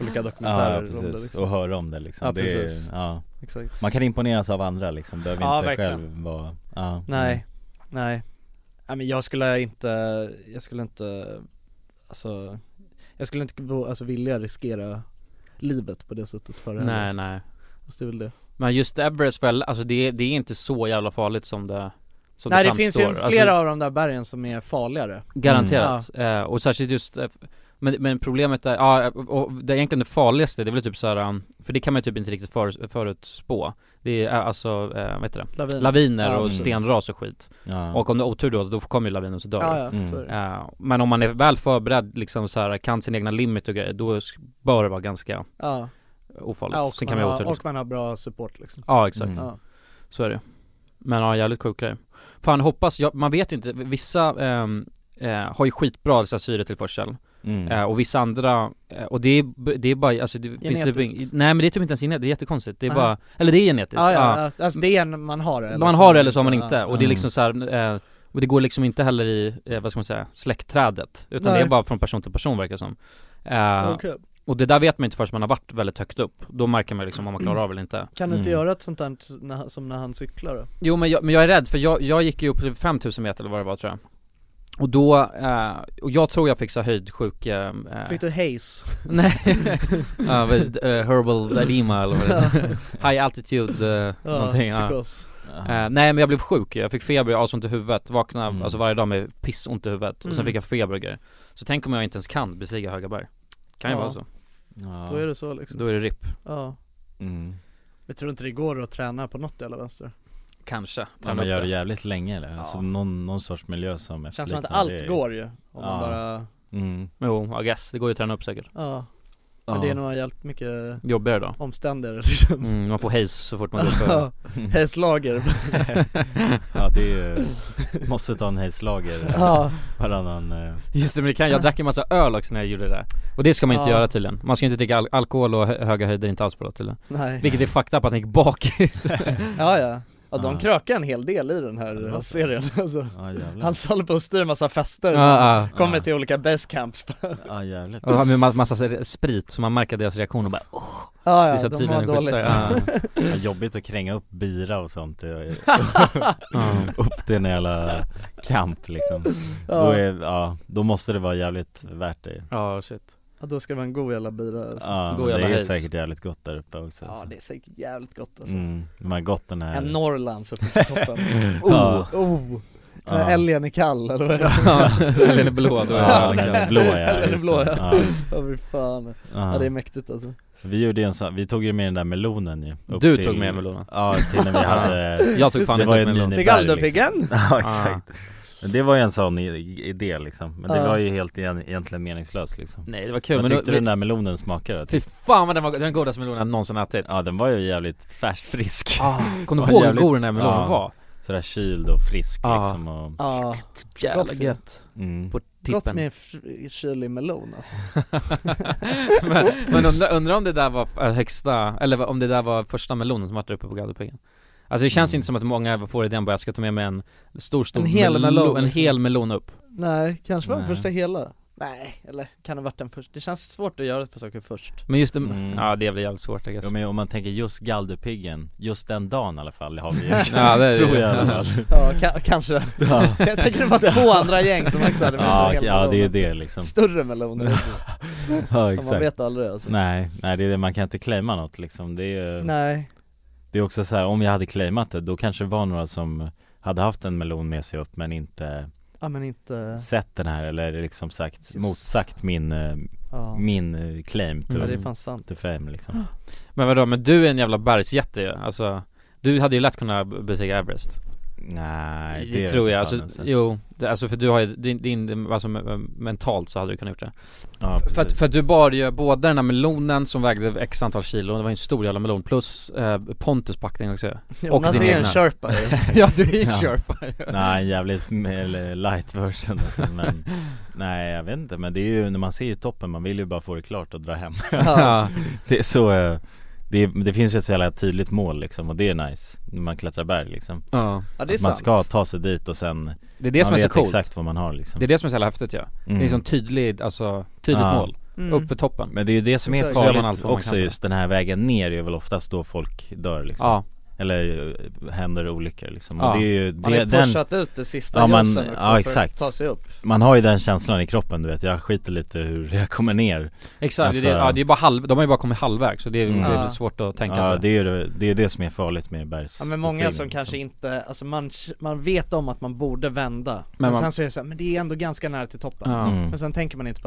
olika Ja, dokumentärer ja om det, precis, liksom. Mm. och höra om det liksom Ja, det är, precis. ja. Exakt. Man kan imponeras av andra liksom, behöver Ja, inte verkligen. själv vara ja. Nej, nej Nej men jag skulle inte, jag skulle inte, alltså Jag skulle inte gå- alltså, vilja riskera livet på det sättet för det här. Nej nej Alltså, det är väl det Men just Everest väl, alltså det, det är inte så jävla farligt som det som Nej det framstår. finns ju flera alltså, av de där bergen som är farligare Garanterat, Ja. eh, och särskilt just eh, men, men problemet är, ja, och det är egentligen det farligaste, det är väl typ såhär, um, för det kan man ju typ inte riktigt för, förutspå Det är eh, alltså, eh, vad heter det? Laviner. Laviner Ja, och precis. stenras och skit Mm. Ja. Och om du har otur då, då kommer ju lavinen så dör Ja, du. ja, Mm. så är det. Eh, Men om man är väl förberedd liksom så här, kan sin egna limit och grejer, då sk- bör det vara ganska Ja. ofarligt Ja, och, Sen man kan Mm. man ju ha har, otur liksom. och man har bra support liksom Ja exakt, Ja. så är det Men ja, jävligt sjuk grej Fan hoppas, jag, man vet ju inte, vissa ehm, eh, har ju skitbra så här, syretillförsel Mm. eh, Och vissa andra, eh, och det är, b- det är bara, alltså det finns det, Genetiskt. Nej men det är typ inte ens genetiskt, det är jättekonstigt, det är Nej. bara, eller det är genetiskt Ja, ja, ja, alltså det är en man har det eller Man så har det eller så har man inte, Ja. och det är liksom så här, eh, och det går liksom inte heller i, eh, vad ska man säga, släktträdet Utan Nej. det är bara från person till person verkar det som eh, Okej. Och det där vet man inte förrän man har varit väldigt högt upp, då märker man liksom om man klarar av eller inte Kan du inte göra ett sånt där när- som när han cyklar då? Jo men jag, men jag är rädd för jag, jag gick ju upp till 5000 meter eller vad det var tror jag Och då, eh, och jag tror jag fick så här höjdsjuk eh, eh, Fick du haze? Nej, ja, vid, eh, herbal edema eller vad det heter High altitude eh, Ja, någonting ja. psykos. Eh, Nej men jag blev sjuk, jag fick feber, jag asont i huvudet, vaknade alltså varje dag med pissont i huvudet och sen Mm. fick jag feber och grejer Så tänk om jag inte ens kan bestiga höga berg Kan ju Ja. vara så Ja. Då är det så liksom Då är det RIP Ja Mm. Jag tror inte det går att träna på något eller vänster Kanske Kan man Träna upp göra det det. jävligt länge eller? Alltså någon, någon sorts miljö som Känns som att efterliknar allt det. går ju, om man Ja. bara mm. Jo, I guess, det går ju att träna upp säkert Ja Men Ja. det är nog jävligt mycket Jobbigare då. Omständigare liksom Mm, man får haze så fort man går upp Ja, över. Hästlager Ja det är ju, måste ta en hejslager Ja. varannan eh, Just det, men det kan, jag drack en massa öl också när jag gjorde det där Och det ska man inte Ja. göra tydligen Man ska inte dricka al- alkohol och hö- höga höjder är inte alls bra tydligen Nej. Vilket är fucked up att ni gick bakis Ja ja Ja de Ja. krökar en hel del i den här eh, serien alltså. Ja, jävlar. Han håller på att styra massa fester Ja, ja. Kommer Ja. till olika basecamps Ja jävligt Och med ma- massa så här sprit så man märker deras reaktion och bara oh. Ja, Det ja, är så här de tydligen mår skitstark. dåligt. Ja. ja, Jobbigt att kränga upp bira och sånt eh, Mm. Upp till en jävla kamp liksom Ja. Då är, ja, då måste det vara jävligt värt det Ja shit Ja då ska det vara en god jävla bira alltså. Ja, god det jävla är hejs. säkert jävligt gott där uppe också Ja alltså. det är säkert jävligt gott alltså mm, de har gått den här En Norrlands uppe på toppen Ja. Oh, oh När Ja. älgen är kall eller vad är det? Ja, älgen är blå, då är det Ja, jävligt kall. Blå, ja, Älgen är just blå det. ja, Ja. ja. fy fan Ja. ja. det är mäktigt alltså Vi gjorde ju en sån, vi tog ju med den där melonen ju upp Du till, tog med melonen Ja, till när vi hade Jag tog fan det inte var ju med Ah. melon miniberg, Galdopigen? liksom. Ja exakt Men det var ju en sån i- idé liksom Men det Ah. Ja. var ju helt igen, egentligen meningslöst liksom Nej det var Mm. kul Vad men tyckte då- du den där melonen smakade? då? Fy fan vad den var den godaste melonen jag någonsin ätit Ja den var ju jävligt färsk, frisk Ah, kommer du Var ihåg hur Ah, jävligt- god den där melonen ja, var? Sådär kyld och frisk Ja. liksom och Ja, Jävla Gott. gött Mm. På gott tippen med en fr- kylig melon alltså Men, men undrar undra om det där var eh, högsta, eller om det där var första melonen som var där uppe på Gardopiggen Alltså det Mm. känns inte som att många får idén bara jag ska ta med mig en stor stor En hel melon. en hel melon upp Nej, kanske var den Nej. första hela Nej, eller kan det ha varit den första? Det känns svårt att göra för saker först Men just det, Mm. ja det blir jävligt svårt I guess Ja, men om man tänker just Galdhöpiggen, just den dagen i alla fall, det har vi ju Ja, det är det. Tror jag i alla fall Ja, ka- kanske Ja. Jag tänker det var två andra gäng som också hade med sig Ja, hela ja det är melonen. det liksom Större meloner också. Ja Ja, Man exakt vet aldrig alltså Nej, nej det är det, man kan inte claima något liksom Det är ju- Nej, Det är också så här, om jag hade claimat det, då kanske det var några som hade haft en melon med sig upp men inte ja men inte sett den här eller liksom sagt, motsagt min, eh, Ja, min eh, claim to, Mm, ja det är fan sant to fame liksom Men vadå, men du är en jävla bergsjätte ju, alltså Du hade ju lätt kunnat b- besegra Everest Nej, Det vet tror jag, fan alltså, ens. jo, det, alltså för du har ju, din, din alltså me- mentalt så hade du kunnat gjort det ja, För att, precis. för att du bar ju både den här melonen som vägde x antal kilo, det var ju en stor jävla melon, plus eh, Pontus packning också Jonas din är en egna. sherpa Ja du är ju Ja. Sherpa ju. Nej, en jävligt eller light version alltså, men Nej jag vet inte, men det är ju, när man ser ju toppen, man vill ju bara få det klart och dra hem Ja. Det är så, eh, det, är, det finns ju ett så jävla tydligt mål liksom och det är nice när man klättrar berg liksom ja Ja det är Att Man sant ska ta sig dit och sen Det är det man som är så vet coolt, exakt vad man har liksom det är det som är så jävla häftigt ju Det Mm. är liksom tydligt, alltså, tydligt Ja. mål, Mm. upp i toppen Men det är ju det som är Exakt. Så gör man allt farligt vad man också kan. just den här vägen ner är ju väl oftast då folk dör liksom Ja, Eller eh, händer olyckor liksom Ja. och det är ju Man det, har ju den, pushat ut det sista Ja, man- ljusen också ja, för att exakt. ta sig upp Man har ju den känslan i kroppen du vet, jag skiter lite hur jag kommer ner exakt, det, är, Alltså- ja, det är bara halv, de har ju bara kommit halvvägs så det är, Mm. det är Ja. väl svårt att tänka Ja sig det är ju det, det, är det som är farligt med liksom. bergs Ja men många som kanske inte, alltså man, man vet om att man borde vända Men, man- sen så är det så här, men det är ändå ganska nära till toppen Ja. Mm. Men sen tänker man inte på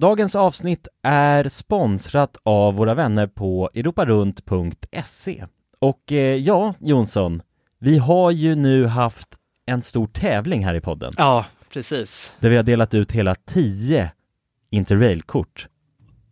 Dagens avsnitt är sponsrat av våra vänner på europarunt.se Och eh, ja, Jonsson, vi har ju nu haft en stor tävling här i podden Ja, precis där vi har delat ut hela 10 Interrail-kort.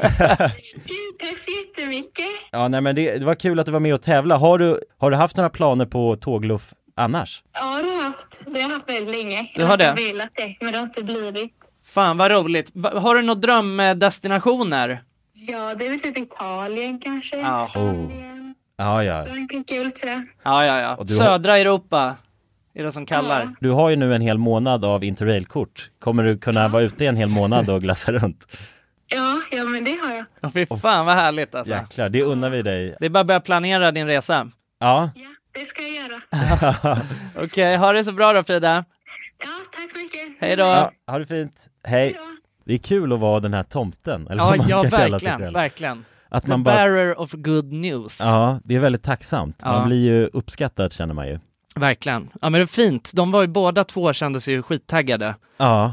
Tack så jättemycket. Ja, nej men det, det var kul att du var med och tävla. Har du, har du haft några planer på tågluff annars? Ja, det har jag haft. Det har jag haft väldigt länge. Du har Jag det? inte velat det, men det har inte blivit. Fan vad roligt. Va- Har du några drömdestinationer? Ja, det är väl typ Italien kanske. Ja. Ja, ja. Frankrike kul tror jag. Ja, ja, ja. Och du har- Södra Europa är det som kallar. Du har ju nu en hel månad av interrailkort. Kommer du kunna vara ute en hel månad och glassa runt? Ja, ja, men det har jag. Åh, Fy fan vad härligt alltså. Jäklar, det unnar vi dig. Det är bara att börja planera din resa. Ja. Det ska jag göra. Okej, ha det så bra då Frida. Ja, tack så mycket. Hej då. ja, ha det fint. Hej. Det är kul att vara den här tomten, eller Ja, vad man ja ska kalla sig verkligen, själv. verkligen. Att The man bara- bearer of good news. Ja, det är väldigt tacksamt. Man Ja. blir ju uppskattad känner man ju. Verkligen. Ja men det är fint. De var ju båda två kände sig ju skittaggade Ja,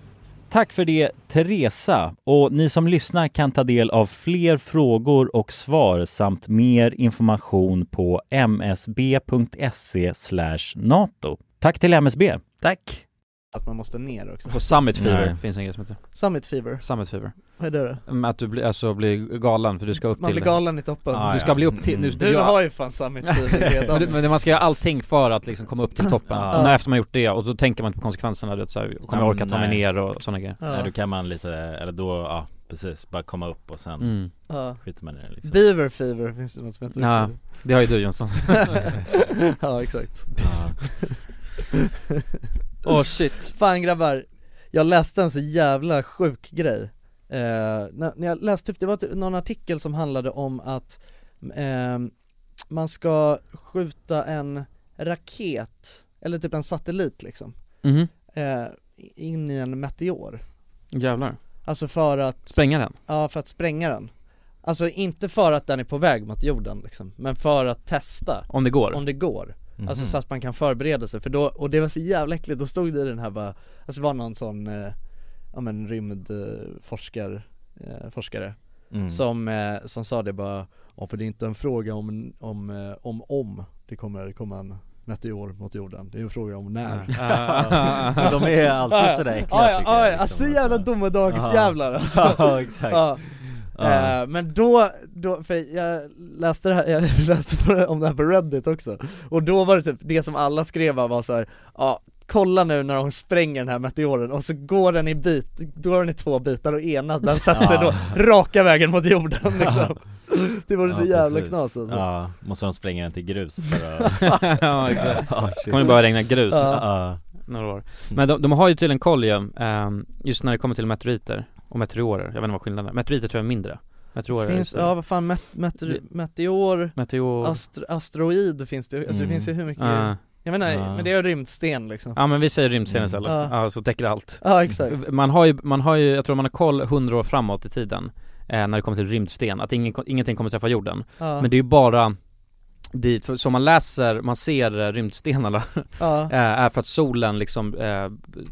Tack för det, Teresa. Och ni som lyssnar kan ta del av fler frågor och svar samt mer information på msb.se e nato. Tack till MSB. Tack. Att man måste ner också. Få summit fever Nej. finns en grej som heter. Summit fever? Summit fever. Vad är det då? Att du blir, alltså blir galen för du ska upp man till Man blir galen i toppen. Ah, du ska ja. bli upp till, nu, Mm. Du jag... har ju fan summit fever redan. men, men, man ska göra allting för att liksom komma upp till toppen. Ja. ja. När efter man gjort det och då tänker man inte på konsekvenserna du vet, så här, kommer jag orka ta mig ner och sådana grejer. Ja. Nej då kan man lite, eller då, ja precis, bara komma upp och sen mm. ja. skiter man i det liksom. Beaver fever finns det något som heter Ja, det har ju du Jonsson. ja exakt. Åh oh, shit Fan grabbar, jag läste en så jävla sjuk grej eh, när, när, jag läste, typ, det var någon artikel som handlade om att eh, man ska skjuta en raket, eller typ en satellit liksom mm -hmm. eh, In i en meteor Jävlar Alltså för att Spränga den? Ja, för att spränga den Alltså inte för att den är på väg mot jorden liksom, men för att testa Om det går? Om det går Mm -hmm. Alltså så att man kan förbereda sig för då, och det var så jävla äckligt, då stod det i den här bara Alltså det var någon sån, eh, ja men rymdforskar, eh, forskare mm. som, eh, som sa det bara Ja för det är inte en fråga om, om, om, om det kommer komma en meteor mot jorden, det är en fråga om när De är alltid sådär äckliga ja, ja, ja, liksom. alltså jävla domedagsjävlar alltså Ja exakt ja. Uh. Men då, då, för jag läste det här, jag läste det, om det här på Reddit också Och då var det typ, det som alla skrev var så här, ja kolla nu när de spränger den här meteoren och så går den i bit, då går den i två bitar och ena den sätter sig då raka vägen mot jorden liksom Det var det så ja, jävla precis. knas alltså. Ja, måste de spränga den till grus för att... ja exakt, oh, kommer det bara regna grus ja. några år Men de, de har ju tydligen koll ju, um, just när det kommer till meteoriter och meteorer, jag vet inte vad skillnaden är, meteoriter tror jag är mindre Meteorer finns, ja vad fan, met, meteor, meteor, meteor. Astro, asteroid finns det alltså mm. det finns ju hur mycket Ah. uh. Jag menar, uh. men det är rymdsten liksom Ja men vi säger rymdsten istället, mm. uh. uh. så täcker allt Ja exakt Man har ju, man har ju, jag tror man har koll hundra år framåt i tiden eh, När det kommer till rymdsten, att ingen, ingenting kommer träffa jorden Men det är ju bara dit, för, så man läser, man ser eh, rymdstenarna eh, ja. är för att solen liksom eh,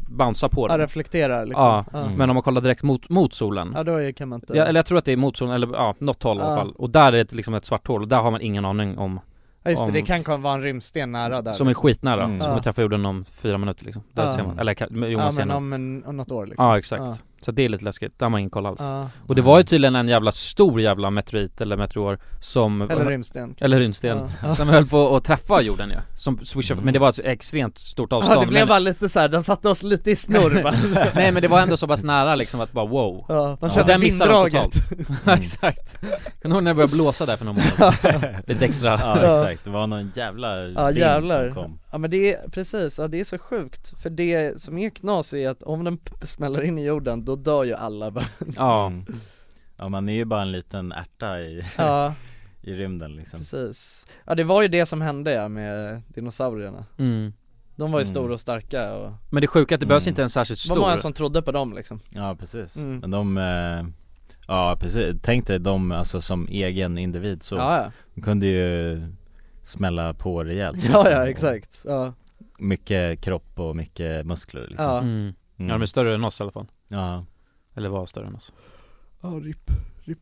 bouncear på dem Ja reflekterar liksom Ja, mm. men om man kollar direkt mot, mot solen Ja då kan man inte ja, Eller jag tror att det är mot solen, eller ja, något håll ja. i alla fall Och där är det liksom ett svart hål, och där har man ingen aning om Ja just det, om, det kan komma vara en rymdsten nära där liksom. Som är skitnära, mm. som kommer ja. träffa jorden om fyra minuter liksom Där ja. ser man, eller jo, man ja, ser men om, en, om något år liksom Ja exakt Så det är lite läskigt, där har man ingen koll alls Och det var ju tydligen en jävla stor jävla meteorit eller meteor som Eller rymdsten Eller rymdsten, som höll på att träffa jorden ja Som swishade, mm. men det var ett extremt stort avstånd Ja det blev men... bara lite såhär, den satte oss lite i snurr va? Nej men det var ändå så pass nära liksom att bara wow Ja, man kände ja. vinddraget Exakt Kommer ihåg när det började blåsa där för några månader? lite extra Ja exakt, det var någon jävla ja, vind jävlar. som kom Ja men det är, precis, ja det är så sjukt För det som är knas är att om den smäller in i jorden, då dör ju alla bara Ja Ja man är ju bara en liten ärta i, ja. i rymden liksom Precis Ja det var ju det som hände ja, med dinosaurierna mm. De var ju mm. stora och starka och Men det sjuka är att det mm. behövs inte en särskilt stor Det var många som trodde på dem liksom Ja precis, men de eh... Ja precis, tänk dig dem alltså som egen individ så ja, ja. De kunde ju smälla på rejält Ja liksom. ja exakt, ja Mycket kropp och mycket muskler liksom Ja, mm. ja de är större än oss i alla fall Ja Eller var större än oss Ja RIP, RIP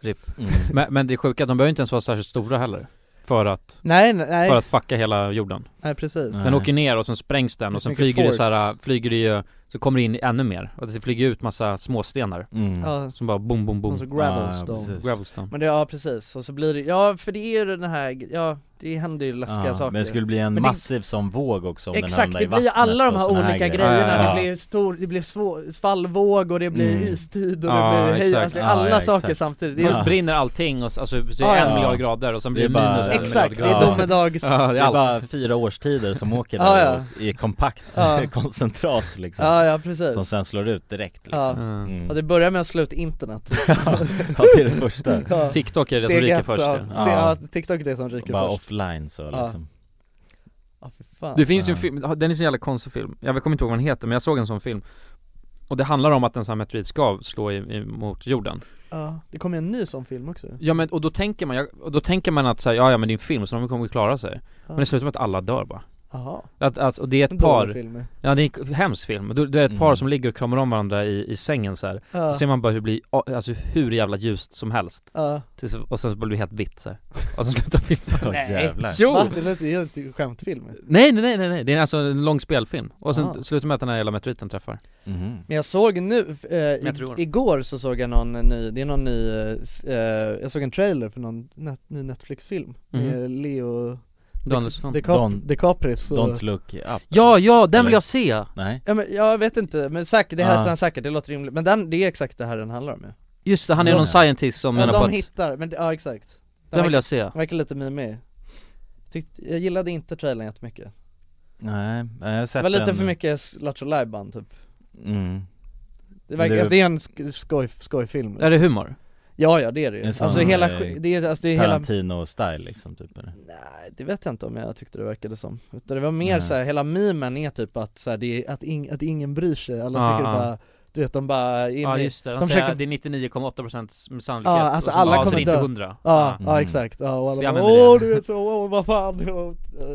RIP mm. men, men det är sjuka, de behöver inte ens vara särskilt stora heller för att, nej, nej. för att fucka hela jorden Nej precis Den nej. åker ner och sen sprängs den och sen flyger force. det så här, flyger det ju Så kommer det in ännu mer, och det flyger ut massa småstenar mm. ja. Som bara boom boom boom och så gravelstone. Ja, gravelstone Alltså, Men det, ja precis, och så blir det, ja för det är ju den här, ja det händer ju läskiga ja, saker Men det skulle bli en men massiv det, som våg också om Exakt, den hamnar det i vattnet blir alla de här olika här grejerna, ja, det blir stor, det blir svår, svallvåg och det blir mm. istid och Ah. det blir hej, alltså, alla saker samtidigt Först är... brinner allting och alltså, det är en miljard grader och sen blir det, minus bara, en Exakt, det är domedags det är bara fyra årstider som åker där och är kompakt koncentrat liksom Ja, ja precis Som sen slår ut direkt liksom. Ja, Mm. ja det börjar med att slå ut internet Ja, det är det första. Ja. TikTok är det som Steg ryker ett, först, ja. ja. Ste- ja, TikTok är det som ryker Bara först offline så Ja. liksom Ja, fy fan Det finns ju en film, den är så jävla konstig film Jag kommer inte ihåg vad den heter men jag såg en sån film Och det handlar om att en sån här meteorit ska slå i, i, mot jorden Ja, det kommer en ny sån film också Ja men och då tänker man, jag- och då tänker man att så här, ja ja men det är en film så de kommer klara sig Men det slutar med att alla dör bara Jaha att, alltså, och det är ett En dålig par, film. ja det är en hemsk film, du, det är ett Mm. par som ligger och kramar om varandra i, i sängen så här. Ja. Så ser man bara hur det blir, alltså hur jävla ljust som helst Ja. Tills, Och sen så blir det helt vitt så här. och sen slutar filmen Nej. Va? Jo! Det lät ju inte skämtfilm Nej nej nej nej, nej. det är alltså en lång spelfilm Och sen Ah. slutar med att den här jävla meteoriten träffar Mhm. Men jag såg nu, eh, i, Meteor. igår så såg jag någon ny, det är någon ny, eh, s- eh, jag såg en trailer för någon net, ny Netflix-film med Mhm. Leo Danielsson. Di- Dicap- Don- DiCapris och- Don't look up Ja, ja, den Eller? vill jag se! Nej Ja men jag vet inte, men säkert, det Ah. heter han säkert, det låter rimligt, men den, det är exakt det här den handlar om ju Just det, han är Ja. någon scientist som Ja, menar på de att hittar, men det- ja exakt Den vill verkar- jag se. den Verkar lite mimig Tyckte, jag gillade inte trailern jättemycket Nej, jag har sett Det var lite den. för mycket Lattjo Lajban typ Mm. Det verkar, Det- alltså det är en sk- skoj, skojfilm Är det humor? Ja ja det är det ju, En sån, alltså hela, eh, sk- det är, alltså det är hela Tarantino-style liksom typ eller? Nej, det vet jag inte om jag tyckte det verkade som. Utan det var mer Nej. så här, hela memen är typ att så här, det är, att, ing, att ingen bryr sig, alla Ja, tycker ja. bara du vet de bara är Ja med- just det, de, de säger försöker- att det är 99,8% sannolikhet Ja alltså och så- alla ja, så kommer det är dö inte 100 Ja, Ja. Mm. ja exakt, ja, och alla Ja, bara, men det är åh du vet så, åh vad fan och,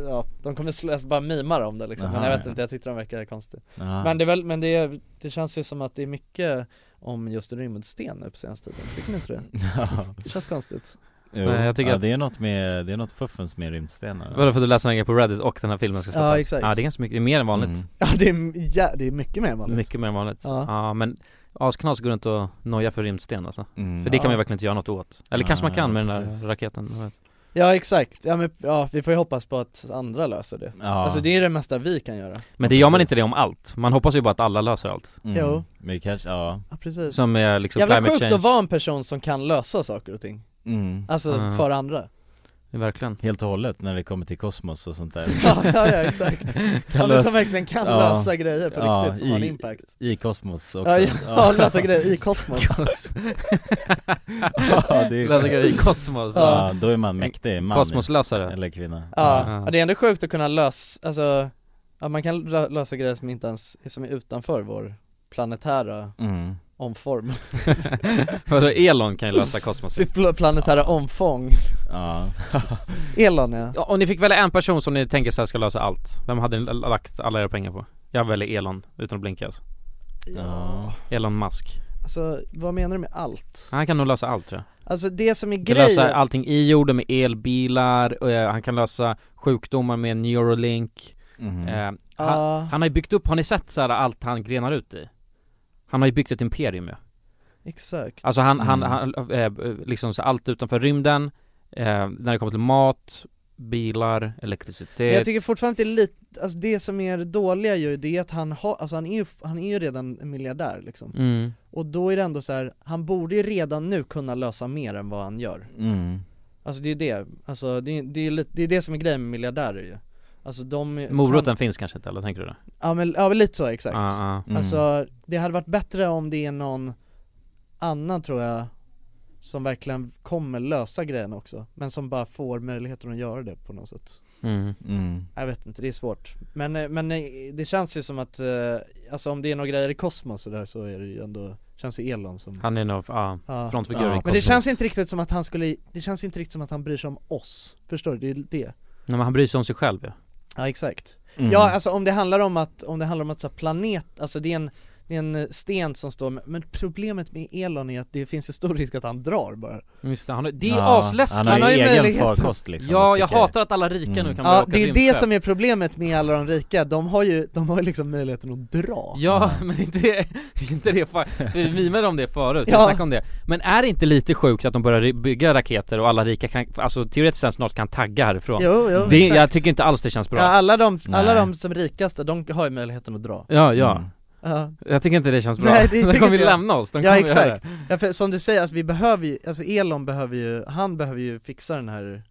ja, De kommer slå, alltså, bara mimar om det liksom, men Aha, jag vet ja. inte, jag tyckte de verkade konstiga Ja. Men det är väl, men det, är, det känns ju som att det är mycket om just rymdsten nu på senaste tiden, tycker ni inte det? Ja. Det känns konstigt Jo, Nej, jag tycker ja, att- det är något med, det är något fuffens med rymdstenar Vadå för att du läser en grej på Reddit och den här filmen ska Ja, stoppas? exakt. Ja det är ganska mycket, det är mer än vanligt Mm. Ja det är, ja, det är mycket mer än vanligt Mycket mer än vanligt Ja. Ja, men asknas går runt och noja för rymdsten alltså Mm. För det Ja. kan man ju verkligen inte göra något åt Eller kanske man Nej, kan med den där precis. raketen jag vet. Ja exakt, ja men ja, vi får ju hoppas på att andra löser det Ja. Alltså det är det mesta vi kan göra Men det gör man inte det om allt, man hoppas ju bara att alla löser allt Mm. Jo. Men det kanske, ja Ja precis Som är liksom Jävla climate sjukt change att vara en person som kan lösa saker och ting Mm. Alltså Mm. för andra Verkligen Helt och hållet när det kommer till kosmos och sånt där Ja, ja, ja, exakt. Ja, men som verkligen kan Ja. lösa grejer på riktigt, som har en impact. I kosmos också Ja, ja, lösa grejer i kosmos Ja, det är- Lösa grejer i kosmos. Ja, då är man mäktig man Kosmoslösare. Eller kvinna Ja, ja. det är ändå sjukt att kunna lösa, alltså, ja, man kan lö- lösa grejer som inte ens, som är utanför vår planetära Mm. omform Vadå, Elon kan ju lösa kosmos. Sitt pl- planetära omfång Ja Elon ja Ja, Om ni fick välja en person som ni tänker så här ska lösa allt, vem hade ni l- lagt alla era pengar på? Jag väljer Elon, utan att blinka alltså. Ja. Elon Musk. Alltså vad menar du med allt? Han kan nog lösa allt tror jag. Alltså det som är Han kan grejen lösa allting i jorden med elbilar, och, eh, han kan lösa sjukdomar med neuralink. Mm. Eh, han, Ja. han har ju byggt upp, har ni sett så här allt han grenar ut i? Han har ju byggt ett imperium ju. Exakt Alltså han, han, Mm. han eh, liksom så allt utanför rymden, eh, när det kommer till mat, bilar, Men elektricitet jag tycker fortfarande att det är lite, alltså det som är det dåliga ju, det är att han har, alltså han är ju, han är ju redan en miljardär liksom Mm. Och då är det ändå så här, han borde ju redan nu kunna lösa mer än vad han gör Mm. Alltså det är det, alltså det, är- det, är, lite, det är det som är grejen med miljardärer ju Alltså de Moroten kan- finns kanske inte eller tänker du det? Ja men, ja men lite så exakt Ja, ja. Mm. Alltså det hade varit bättre om det är någon annan tror jag Som verkligen kommer lösa grejen också Men som bara får möjligheten att göra det på något sätt Mm. Mm. Jag vet inte, det är svårt Men, eh, men eh, det känns ju som att, eh, alltså om det är några grejer i kosmos och där så är det ju ändå, känns ju Elon som Han är nog, ja, Ja. frontfigur i Men det kosmos. känns inte riktigt som att han skulle, det känns inte riktigt som att han bryr sig om oss, förstår du? Det är det Nej men han bryr sig om sig själv ju Ja exakt Mm. Ja alltså om det handlar om att, om det handlar om att så här, planet, alltså det är en det är en eh, sten som står med, men problemet med Elon är att det finns ju stor risk att han drar bara Just det, han har, det är Ja, asläskigt! han har ju Han har ju egen möjlighet. farkost, liksom, Ja, och jag sticker. hatar att alla rika nu kan börja Ja åka det är det rymdskepp. som är problemet med alla de rika, de har ju, de har ju liksom möjligheten att dra Ja, men inte det, inte det för, vi mimade om det förut, Ja. jag snackade om det Men är det inte lite sjukt att de börjar ry- bygga raketer och alla rika kan, alltså teoretiskt sett snart kan tagga härifrån? Jo, jo, det, exakt. Jag tycker inte alls det känns bra Ja, alla de, alla Nej. de som är rikaste, de har ju möjligheten att dra Ja, ja. Ja. Jag tycker inte det känns bra. Mm. det de tycker kommer inte ju jag. lämna oss, de Ja kommer göra exakt, det. ja, för som du säger, alltså, vi behöver ju, alltså Elon behöver ju, han behöver ju fixa den här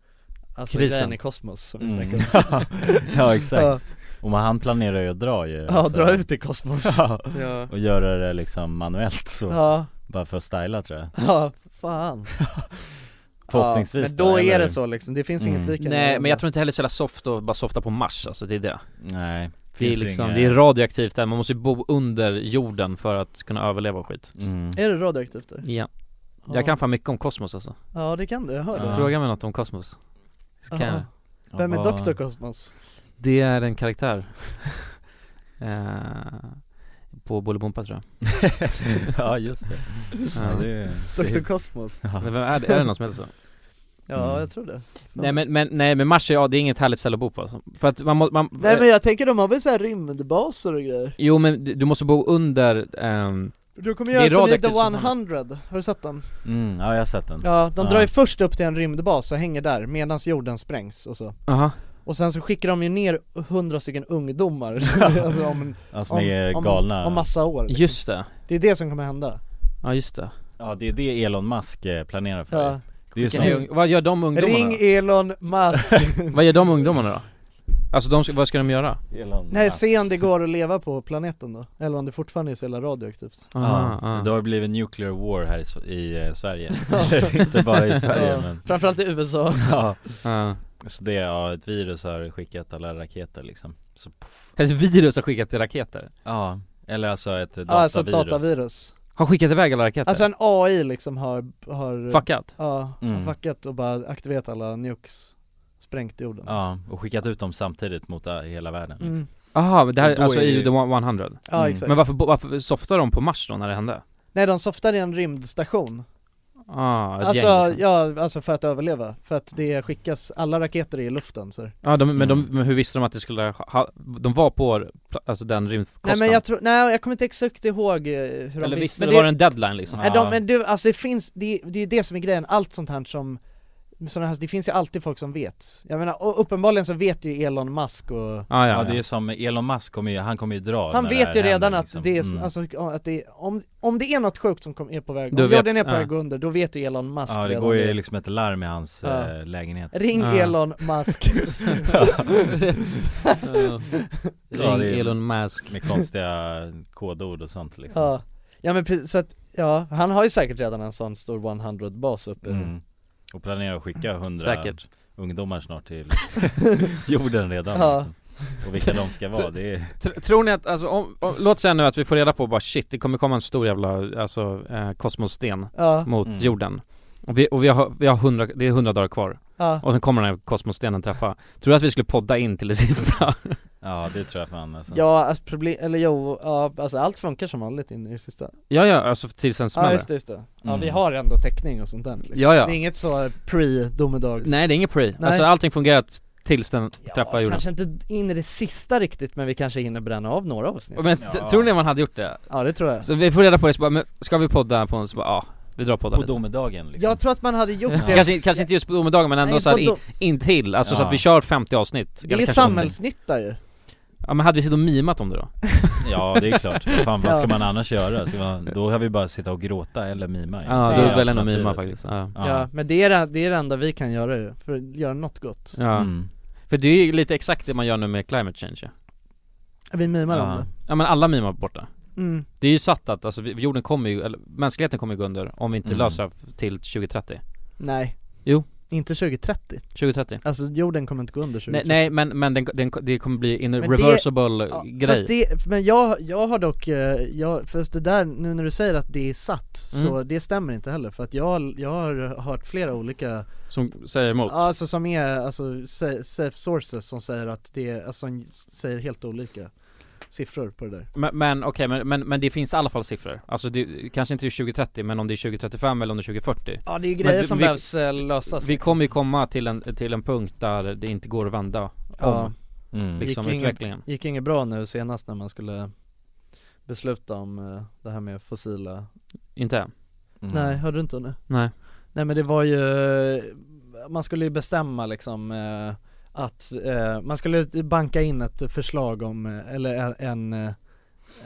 Alltså Krisen. grejen i kosmos som vi Mm. snackade om Ja, exakt. Och man, han planerar ju att dra ju alltså. Ja, dra ut i kosmos. ja. Ja. Och göra det liksom manuellt så Ja. Bara för att styla tror jag Ja, fan Förhoppningsvis Men då är eller? Mm. det så liksom, det finns inget vi kan Nej göra. men jag tror inte heller så jävla soft och bara softa på Mars alltså, det är det Nej Det är finns liksom, inga- det är radioaktivt där, man måste ju bo under jorden för att kunna överleva och skit Mm. Är det radioaktivt där? Ja Ja. Jag kan fan mycket om kosmos alltså Ja det kan du, jag hör det Fråga mig något om kosmos Så kan Jaha. jag. Vem är Vad- Dr. Cosmos? Det är en karaktär Eh, På Bolibompa tror jag Ja just det, ja, det är... Dr. Cosmos? Ja. Men Eh, vem är det? Är det någon som heter så? Ja Mm. jag tror det Nej men, men, nej men Mars, ja det är inget härligt ställe att bo på alltså. För att man måste, man, eh, Nej men jag tänker de har väl såhär rymdbaser och grejer? Jo men du du måste bo under, ehm, Du kommer Det är göra som i The radioaktivt som fan. 100, har du sett den? mm, ja jag har sett den Ja, de drar ju först upp till en rymdbas och hänger där medan jorden sprängs och så Aha. Och sen så skickar de ju ner hundra stycken ungdomar alltså om, Ja, som är galna. om, om massa år liksom. Just det, Det är det som kommer hända ja just det Ja det är det Elon Musk eh, planerar för Ja. Det är ju Vilken som, ung- Vad gör de ungdomarna Ring Elon Musk då? Vad gör de ungdomarna då? Alltså de, ska- vad ska de göra? Nej, se om det går att leva på planeten då, eller om det fortfarande är så jävla radioaktivt ja, Ah, ah. det har blivit nuclear war här i, Sv- i eh, Sverige Eller inte bara i Sverige Ja, men Framförallt i USA Ja, Ja. så det, ja ett virus har skickat alla raketer liksom så, Ett virus har skickat till raketer? Ja, eller alltså ett datavirus Ja, alltså ett datavirus Har skickat iväg alla raketer? Alltså en AI liksom har, har Fuckat? Ja, Mm. har fuckat och bara aktiverat alla nukes, sprängt jorden Ja, och skickat ut dem samtidigt mot eh, hela världen liksom. Mm. Jaha, men det här Och då alltså är det i ju- The 100? Ja, Mm. exakt. Men varför, bo- varför softar de på Mars då när det hände? Nej de softade i en rymdstation Ah, ett Alltså, gäng liksom. ja, alltså för att överleva, för att det skickas, alla raketer är i luften så här. Mm. Ja, de, men, de, men hur visste de att det skulle, ha, ha- de var på pla- alltså den rymdkostan? Nej men jag tror, nej jag kommer inte exakt ihåg eh, hur de Eller visste men det var en deadline liksom? Nej, de, men du, alltså det finns, det, det är ju det som är grejen, allt sånt här som såna här, det finns ju alltid folk som vet. Jag menar, och uppenbarligen så vet ju Elon Musk och Ja, Ah, ja, det är som Elon Musk kommer ju, han kommer ju dra Han när det vet här ju redan händer, att liksom. det är, Mm. alltså, ja, att det är, om, om det är något sjukt som kom, är på väg, Du om vet, jorden är på ja. väg under, då vet ju Elon Musk Ja det redan går ju det. liksom ett larm i hans Ja. eh, lägenhet Ring Ja. Elon Musk Ja, det Ring är- Elon Musk Med konstiga kodord och sånt liksom Ja, ja men precis, så att, ja, han har ju säkert redan en sån stor 100-bas uppe mm. Och planerar att skicka hundra Säkert. ungdomar snart till jorden redan Ja. liksom. Och vilka de ska vara, det är Tr- Tror ni att, alltså, om, om, låt säga nu att vi får reda på bara shit, det kommer komma en stor jävla, alltså, eh, kosmossten Ja. mot Mm. jorden Och, vi, och vi, har, vi har 100, det är 100 dagar kvar Ja. Och sen kommer den här kosmosstenen träffa Tror du att vi skulle podda in till det sista? Ja det tror jag fan alltså. Ja, alltså problem, eller jo, ja, alltså allt funkar som vanligt in i det sista ja ja, alltså tills den Ja smäller just det, just det. Ja Mm. vi har ändå täckning och sånt där liksom. Ja, ja. Det är inget så pre-domedags Nej det är inget pre, Nej. alltså allting fungerar t- tills den träffar jorden Kanske inte in i det sista riktigt men vi kanske hinner bränna av några avsnitt Men t- tror ni man hade gjort det? Ja det tror jag Så vi får reda på det så bara, men ska vi podda på en, så bara, ja, vi drar och poddar På lite domedagen liksom Jag tror att man hade gjort det Kanske, kanske inte just på domedagen men ändå Nej, så här på in, dom- intill, alltså så Ja. att vi kör 50 avsnitt Det eller är kanske samhällsnytta ju Ja men hade vi suttit och mimat om det då? Ja det är klart, fan vad Ja. ska man annars göra? Ska man, då har vi bara sitta och gråta eller mima Ja, Det då är är väl ändå alternativet. mima faktiskt ja. Ja. Ja, men det är det, det är det enda vi kan göra ju, för att göra något gott Ja. Mm. För det är ju lite exakt det man gör nu med climate change ja. Vi mimar om Ja. det ja men alla mimar borta mm. Det är ju satt att alltså, vi- jorden kommer ju, eller mänskligheten kommer ju gå under om vi inte Mm. löser det här till 2030 Nej Jo. Inte 2030, 2030 alltså jorden kommer inte gå under 2030 Nej, nej men, men den, den, det kommer bli en det- reversible Ja, grej Fast det, men jag, jag har dock, eh, jag, fast det där, nu när du säger att det är satt, så Mm. det stämmer inte heller för att jag, jag har hört flera olika, Som säger emot? alltså som är alltså sa- safe sources som säger att det, är- alltså som säger helt olika siffror på det där Men, men okej, men, men, men det finns i alla fall siffror Alltså det, kanske inte det är 2030 men om det är 2035 eller om det är 2040 Ja det är grejer Men vi- som vi- behövs, eh, lösas liksom. Vi kommer ju komma till en, till en punkt där det inte går att vända om Ja. Mm. liksom Gick ingen- utvecklingen Gick inget bra nu senast när man skulle besluta om eh, det här med fossila Inte? Mm. Nej, hörde du inte nu? Nej Nej men det var ju, man skulle ju bestämma liksom eh, att, eh, man skulle banka in ett förslag om, eh, eller en, eh,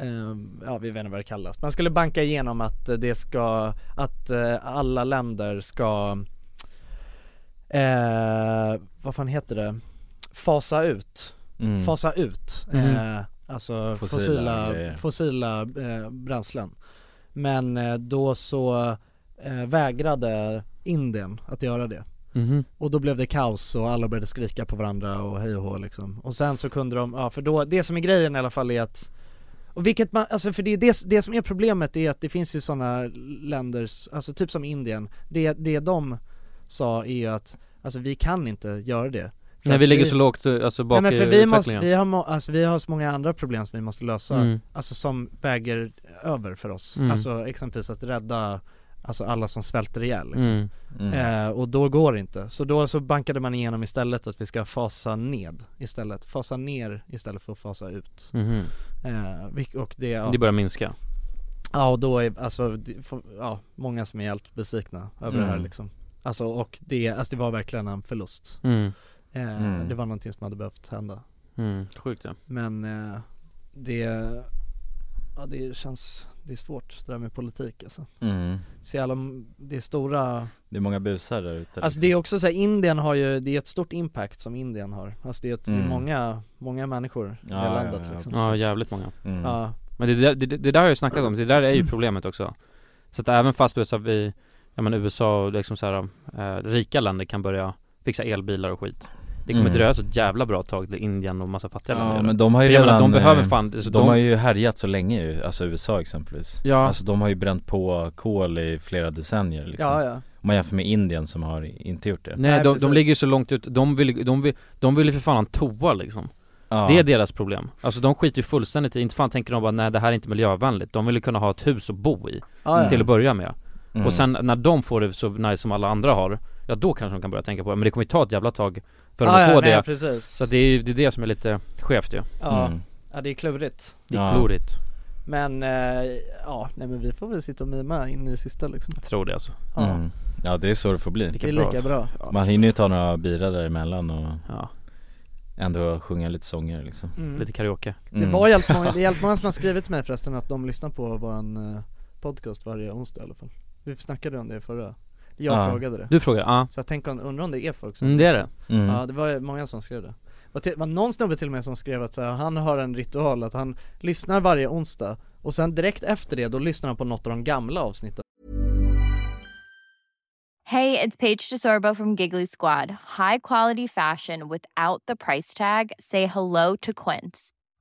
eh, ja vi vet inte vad det kallas, man skulle banka igenom att det ska, att eh, alla länder ska, eh, vad fan heter det, fasa ut mm. fasa ut Mm. eh, alltså fossila, fossila, fossila eh, bränslen. Men eh, då så eh, vägrade Indien att göra det. Mhm. Och då blev det kaos och alla började skrika på varandra och hej och hå liksom. Och sen så kunde de, ja för då, det som är grejen i alla fall är att och vilket man, alltså för det, är det, det som är problemet är att det finns ju sådana länder, alltså typ som Indien, det, det de sa är ju att, alltså vi kan inte göra det För Nej att vi ligger så lågt alltså, bak Nej, men för i vi, måste, utvecklingen vi, har, må- alltså, vi har så många andra problem som vi måste lösa, Mm. alltså som väger över för oss. Mm. Alltså exempelvis att rädda Alltså alla som svälter ihjäl liksom. Mm. Mm. Eh, Och då går det inte. Så då så bankade man igenom istället att vi ska fasa ned istället. Fasa ner istället för att fasa ut. Mhm. Eh, vilk- och det, ja. Det börjar minska Ja och då är, alltså, det, får- ja, många som är helt besvikna över det här Mm. liksom Alltså och det, alltså det var verkligen en förlust Mm. Eh, Mm. Det var någonting som hade behövt hända mm. Sjukt ja Men eh, det, ja det känns, det är svårt det där med politik alltså Mm. Så jävla, det är stora Det är många busar där ute liksom. Alltså det är också så här, Indien har ju, det är ett stort impact som Indien har Alltså det är, ett, det är Mm. många, många människor i det Ja, ja, landet ja, liksom Ja jävligt många Mm. Ja. Men det där, det, det där har jag snackat om, det där Mm. är ju problemet också Så att även fast USA, vi, ja men USA och liksom så här, eh, rika länder kan börja fixa elbilar och skit Det kommer Mm. dröja så ett jävla bra tag till Indien och massa fattiga Ja länder gör det. men de har ju För jag menar, redan, de behöver eh, fan, de, alltså, har ju härjat så länge ju, alltså USA exempelvis Ja. Alltså de har ju bränt på kol i flera decennier liksom Ja, ja. Om man jämför med Indien som har inte gjort det Nej, de, de ligger ju så långt ut, de vill, de vill, de vill ju för fan ha en toa liksom Ja. Det är deras problem. Alltså de skiter ju fullständigt i, inte fan tänker de bara nej det här är inte miljövänligt, de vill ju kunna ha ett hus att bo i Ja, ja. Till att börja med Mm. Och sen när de får det så nice som alla andra har Ja då kanske de kan börja tänka på det, men det kommer ju ta ett jävla tag för dem Ja, att ja, få nej, det precis. Så att det mm. är ju det, är det som är lite skevt ju Ja, Mm. ja det är klurigt Det är klurigt, Men eh, ja, nej men vi får väl sitta och mima in i det sista liksom tror det alltså Ja. Mm. Ja det är så det får bli Det är lika bra. Man hinner ju ta några bira däremellan och ja. ändå sjunga lite sånger liksom Mm. Lite karaoke Det var helt många, det är helt många som har skrivit till mig förresten att de lyssnar på våran eh, podcast varje onsdag i alla fall Vi snackade om det i förra Jag Ja. frågade det Du frågade, ja. Så jag tänker, om- undrar om det är folk som Mm, det är det. Mm. Ja det var ju många som skrev det Det var, till, var någon snubbe till och med som skrev att så här, han har en ritual att han lyssnar varje onsdag och sen direkt efter det då lyssnar han på något av de gamla avsnitten Hey, it's Paige DeSorbo from Giggly Squad. High quality fashion without the price tag. Say hello to Quince.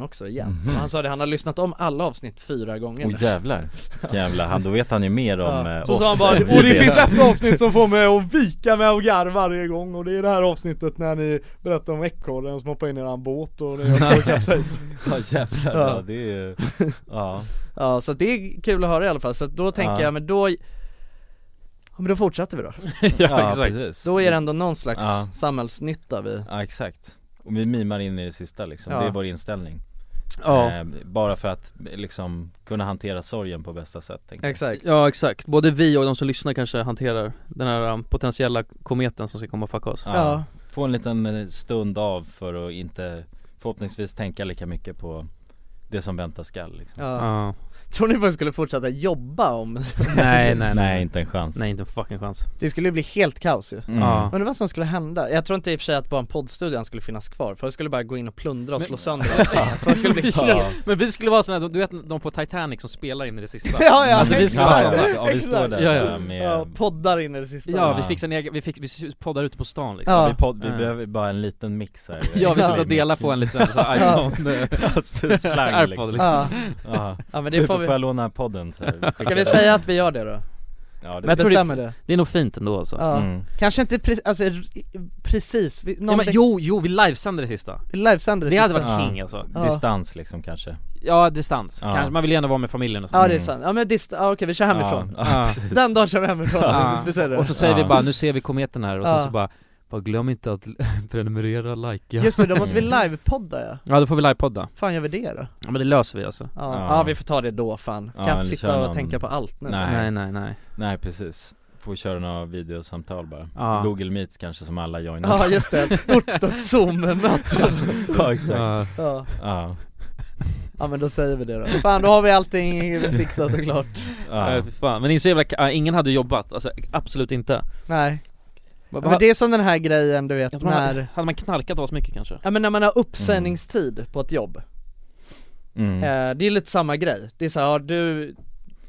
också igen Mhm. Och Han sa det, han har lyssnat om alla avsnitt fyra gånger Åh jävlar, jävlar, han, då vet han ju mer om eh, Så oss sa han bara, än vi och det vet." finns ett avsnitt som får mig att vika mig och garva varje gång och det är det här avsnittet när ni berättar om ekorren som hoppar in i en båt och ni har kapsejs Ja jävlar, ja. det är ju, ja Ja så det är kul att höra i alla fall, så att då tänker Ja. jag men då Ja men då fortsätter vi då Ja, exakt. precis. Då är det ändå någon slags Ja. samhällsnytta vi Ja exakt, och vi mimar in i det sista liksom, Ja. det är vår inställning Ja. Eh, bara för att liksom kunna hantera sorgen på bästa sätt tänker jag. Exakt Ja exakt, både vi och de som lyssnar kanske hanterar den här um, potentiella kometen som ska komma och fucka oss Ja. Få en liten eh, stund av för att inte förhoppningsvis tänka lika mycket på det som väntar skall liksom. Ja. Tror ni folk skulle fortsätta jobba om Nej, nej, nej. Nej, inte en chans. Nej inte en fucking chans Det skulle ju bli helt kaos ju Mm. Ja. Undrar vad som skulle hända? Jag tror inte i och för sig att bara en poddstudion skulle finnas kvar, folk skulle bara gå in och plundra och slå sönder allt. Folk skulle bli helt Men vi skulle vara sådana, du vet de på Titanic som spelar in i det sista Ja, ja, alltså, vi skulle vara exakt. sådana. Ja, vi står där Ja, ja. med- Ja, poddar in i det sista Ja, vi fixar en egen, vi, fix, vi poddar ute på stan liksom Ja. Vi, podd, vi behöver bara en liten mix här Ja, vi sitter och delar på en liten så här Ja. iPhone, Fast slang iPod, liksom. liksom. Ja. Ja. Ja, men det får vi- Får jag låna podden så här? Ska vi säga att vi gör det då? Ja, Men jag tror Bestämmer det, Mm. är- det. det är nog fint ändå alltså Ja. Mm. Kanske inte pre- alltså, r- precis, vi, någon ja, men, veck- Jo, jo vi livesänder det sista vi livesänder Det hade sista. varit king alltså Ja. Distans liksom kanske Ja, distans, Ja. kanske, man vill ju ändå vara med familjen och så Ja det är sant, ja men dist- ja, okej vi kör hemifrån Den dagen kör vi hemifrån, Ja. vi säger det. Och så säger vi Ja. bara, nu ser vi kometen här och sen Ja. så bara bara glöm inte att prenumerera, likea Just det, då måste vi livepodda ja Ja då får vi livepodda Fan gör vi det då? Ja men det löser vi alltså Ja, ja. vi får ta det då fan, kan inte sitta och tänka på allt nu Nej, nej, nej Nej precis Får köra några videosamtal bara Ja. Google Meets kanske som alla joinar Ja just det, ett stort stort zoom-möte Ja exakt Ja. ja. Ja. ja men då säger vi det då Fan då har vi allting fixat och klart Ja. fy fan. Men det är så jävla, ka- ja, ingen hade jobbat, alltså absolut inte Nej ja, Vad- Men det är som den här grejen du Jag vet tror man hade- när Hade man knarkat oss mycket kanske? Ja men när man har uppsägningstid på ett jobb Mm. eh, Det är lite samma grej, det är såhär, ja, du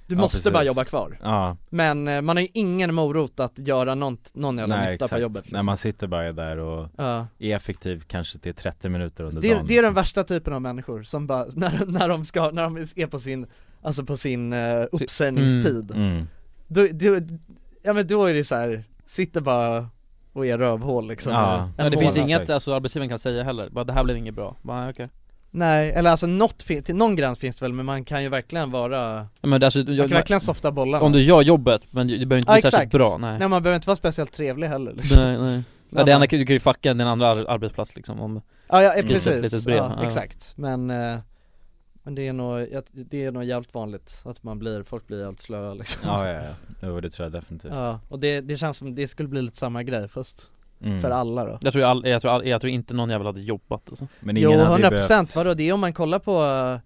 du Ja, måste bara precis. jobba kvar Ja. Men eh, man har ju ingen morot att göra någon, någon jävla Nej nytta exakt, på jobbet liksom. när man sitter bara där och Ja. är effektiv kanske till 30 minuter under det, är- dagen liksom. det är den värsta typen av människor som bara, när, när de ska, när de är på sin, alltså på sin uh, uppsägningstid Mm, mm. Då, då, ja men då är det så här, sitter bara och är rövhål liksom Ja. En Ja, det månad. finns inget alltså, arbetsgivaren kan säga heller, bara det här blev inget bra, bara okej Nej, eller alltså något fin- till någon gräns finns det väl men man kan ju verkligen vara, Ja, Men alltså, man jag, kan verkligen softa bollarna om du gör jobbet, men det behöver inte Ja, bli särskilt bra, nej man behöver inte vara speciellt trevlig heller liksom. Nej, nej. Ja, det enda, du kan ju fucka din andra ar- arbetsplats liksom om Ja, ja eh, skriva ett litet precis, brev. ja, Ja. exakt, men eh, men det är nog, jag- det är nog jävligt vanligt att man blir, folk blir jävligt slöa liksom Ja ja, ja. Jo, det tror jag definitivt Ja, och det, det känns som det skulle bli lite samma grej fast Mm. för alla då Jag tror, all, jag, tror all, jag tror inte någon jävel hade jobbat alltså. Men Jo ingen hade ju 100% behövt- procent, vadå det är om man kollar på eh,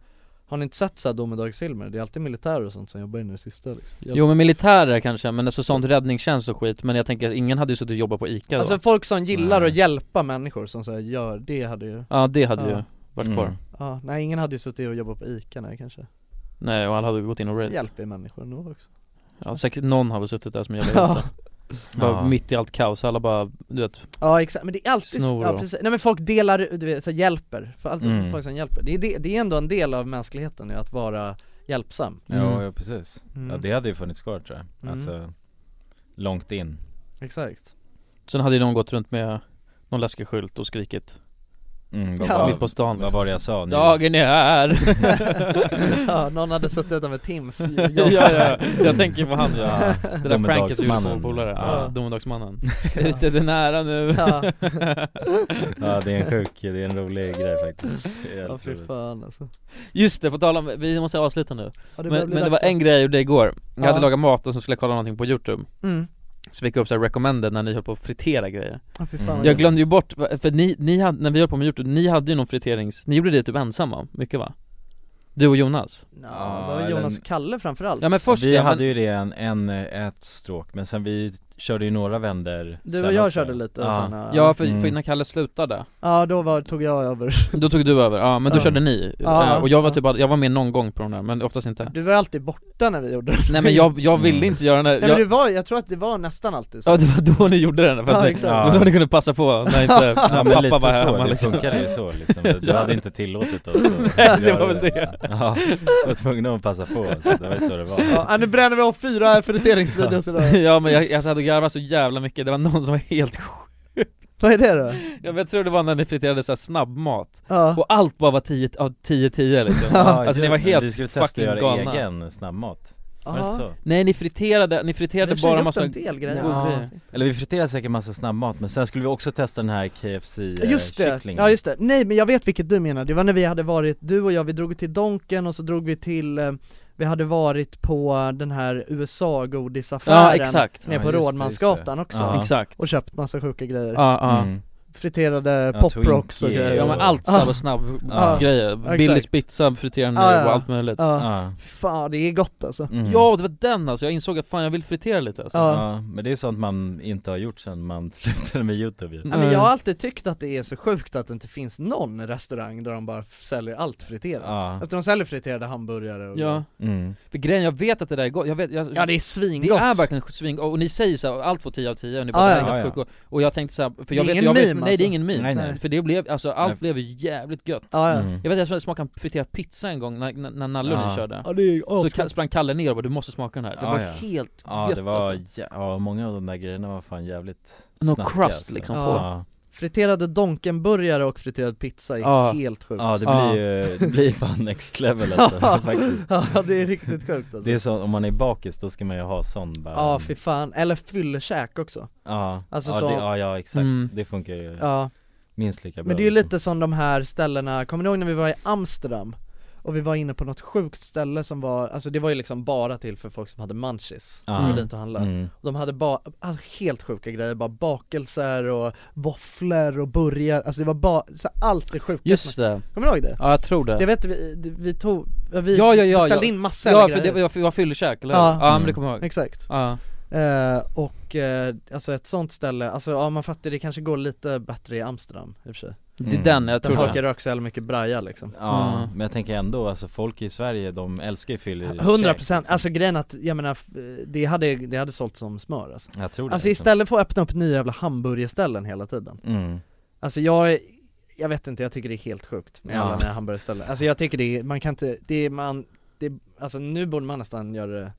har ni inte sett såhär domedagsfilmer? Det är alltid militärer och sånt som jobbar in i det sista liksom Jo men militärer kanske, men alltså sånt räddningstjänst och skit, men jag tänker att ingen hade ju suttit och jobbat på ICA Alltså då folk som gillar att hjälpa människor som såhär gör, det hade ju Ja det hade ju Ja. varit kvar Mm. Ja, nej ingen hade ju suttit och jobbat på ICA nej kanske Nej och alla hade ju gått in och raid Hjälper människor nog också ja, säkert någon har väl suttit där som jävla hjälte Bara Ja. mitt i allt kaos, alla bara, du vet Ja exakt, men det är alltid, Snor ja, och- precis. nej men folk delar, du vet, så här, hjälper, för alltid Mm. folk som hjälper det är, det, det är ändå en del av mänskligheten nu att vara hjälpsam Ja, ja precis. Ja Mm. det hade ju funnits kvar tror jag. Mm. Alltså långt in. Exakt Sen hade ju någon gått runt med någon läskig skylt och skrikit Mm, Ja. Mitt på stan liksom. Vad var det jag sa? Ni- Dagen är här! Ja, någon hade suttit utanför Tims ja, ja, jag tänker på han ja. Det där pranket vi gjorde på Domedagsmannen. vår polare, Ja. ja. domedagsmannen Ute, det är nära nu Ja. Ja det är en sjuk, det är en rolig grej faktiskt. Det är Ja helt fy roligt. fan alltså Just det, på tal om, vi måste avsluta nu ja, det börjar Men, bli men det var dags en grej jag gjorde igår, jag Ja. hade lagat mat och så skulle jag kolla någonting på youtube då. mm. Så fick jag upp såhär recommended när ni höll på att fritera grejer ja, fy Mm. fan vad Jag gött. glömde ju bort, för ni, ni hade, när vi höll på med youtube, ni hade ju någon friterings, ni gjorde det typ ensamma, mycket va? Du och Jonas? Ja, Ja, det var ju Jonas den- och Kalle framförallt Ja men först vi ja, hade men, ju det en, en, ett stråk men sen vi körde ju några vänder Du sen och jag också. körde lite ja. såna, ja för, Mm. för innan Kalle slutade, ja då var, tog jag över då tog du över, ja men då Ja. körde ni, Ja, Eh, och jag var ja. typ, bara- jag var med någon gång på de där, men oftast inte Du var alltid borta när vi gjorde det Nej men jag, jag ville inte göra den där, Nej men jag, det var, jag tror att det var nästan alltid så Ja det var då ni gjorde den, för Ja, att ni, exakt. det var då ni kunde passa på när inte, när Ja, men pappa lite var så, hemma det liksom. funkade ju så liksom. Du Ja. hade inte tillåtit oss att Nej, det göra var väl det. liksom. Ja, vi var tvungna att passa på så det var ju så det var Ja, nu bränner vi av fyra friteringsvideos idag Ja men jag, jag hade garvat så jävla mycket, det var någon som var helt sjuk Vad är det då? Ja, men Jag tror det var när ni friterade så här snabbmat, Ja, Ah. och allt bara var 10-10 liksom Ja, Alltså ni var men helt Vi skulle testa att fucking göra galna egen snabbmat Var det inte så? Nej ni friterade, ni friterade Men alltså. vi bara upp massa en del grejer. godgrejer. Eller vi friterar säkert massa snabbmat men sen skulle vi också testa den här KFC eh, Just det, kycklingen. ja just det. Nej men jag vet vilket du menar, det var när vi hade varit, du och jag, vi drog till Donken och så drog vi till eh, vi hade varit på den här USA-godisaffären Ja, exakt. nere på Ja, just det, just Rådmansgatan det. också Ja. Exakt. Och köpt massa sjuka grejer Ja, ja. Mm. Friterade Ja, poprocks och Twinkie grejer Ja men allt Ah. sådana snabb Ja. grejer, Exakt. Ah, Billys pizza, friterande Ja, ja, och allt möjligt ja. Fan det är gott alltså Mm. Ja det var den alltså, jag insåg att fan jag vill fritera lite alltså Ja. men det är sånt man inte har gjort sen man slutade med youtube ju Nej, Mm. men jag har alltid tyckt att det är så sjukt att det inte finns någon restaurang där de bara f- säljer allt friterat Ja. Alltså de säljer friterade hamburgare och Ja, Mm. för grejen, jag vet att det där är gott, jag vet, jag, Ja, det är svingott. Det är verkligen svingott, och ni säger så här, allt får 10 av 10 och ni Ah, bara Ja, det här är ja. helt Ja, ja. sjukt." och, och jag tänkte så här, för Det jag är vet, ingen jag vet, meme, nej det alltså. är ingen meme, Nej, nej. för det blev, alltså allt Nej. blev jävligt gött Ja, ja. Mm. Jag vet att jag smakade- smakade en friterad pizza en gång när, när, när Nalle och Ja. ni körde Ja, det är Så ka- sprang Kalle ner och bara du måste smaka den här, det var helt Ja gött det var, alltså. jä- ja många av de där grejerna var fan jävligt No snaskiga, alltså. crust, liksom, på. Ja. Friterade donkenburgare och friterad pizza är Ja. helt sjukt Ja det blir ju, det blir fan next level alltså, faktiskt Ja det är riktigt sjukt alltså Det är så, om man är bakis då ska man ju ha sån bara Ja fy fan, eller fyllekäk också Ja, Alltså ja, så- det, ja, ja exakt, Mm. det funkar ju Ja. minst lika bra liksom. Men det är ju lite som de här ställena, kommer ni ihåg när vi var i Amsterdam? Och vi var inne på något sjukt ställe som var, alltså det var ju liksom bara till för folk som hade munchies, Ja. och var dit och handlade Mm. och De hade bara, alltså helt sjuka grejer, bara bakelser och våfflor och burgare, alltså det var bara, så här, allt det sjuka Just det Kommer du ihåg det? Ja jag tror det Jag vet vi, vi tog, vi Ja, ja, ja, beställde ja. in massor Ja, av för grejer det var- jag var fyllekäk, eller hur? Ja, men det kommer jag ihåg. Mm. Exakt Ja. Eh, och eh, alltså ett sånt ställe, alltså ja man fattar det kanske går lite bättre i Amsterdam i och för sig Det är den, jag Där tror folk det. har rökt så jävla mycket braja liksom Ja, men jag tänker ändå alltså folk i Sverige de älskar ju fyller 100% liksom. alltså grejen att, jag menar, f- eh, det hade, det hade sålt som smör alltså Jag tror det, Alltså liksom. istället för att öppna upp nya jävla hamburgerställen hela tiden Mm. Alltså jag, är- jag vet inte, jag tycker det är helt sjukt med Ja. alla nya hamburgerställen Alltså jag tycker det är, man kan inte, det är man, det är, alltså nu borde man nästan göra det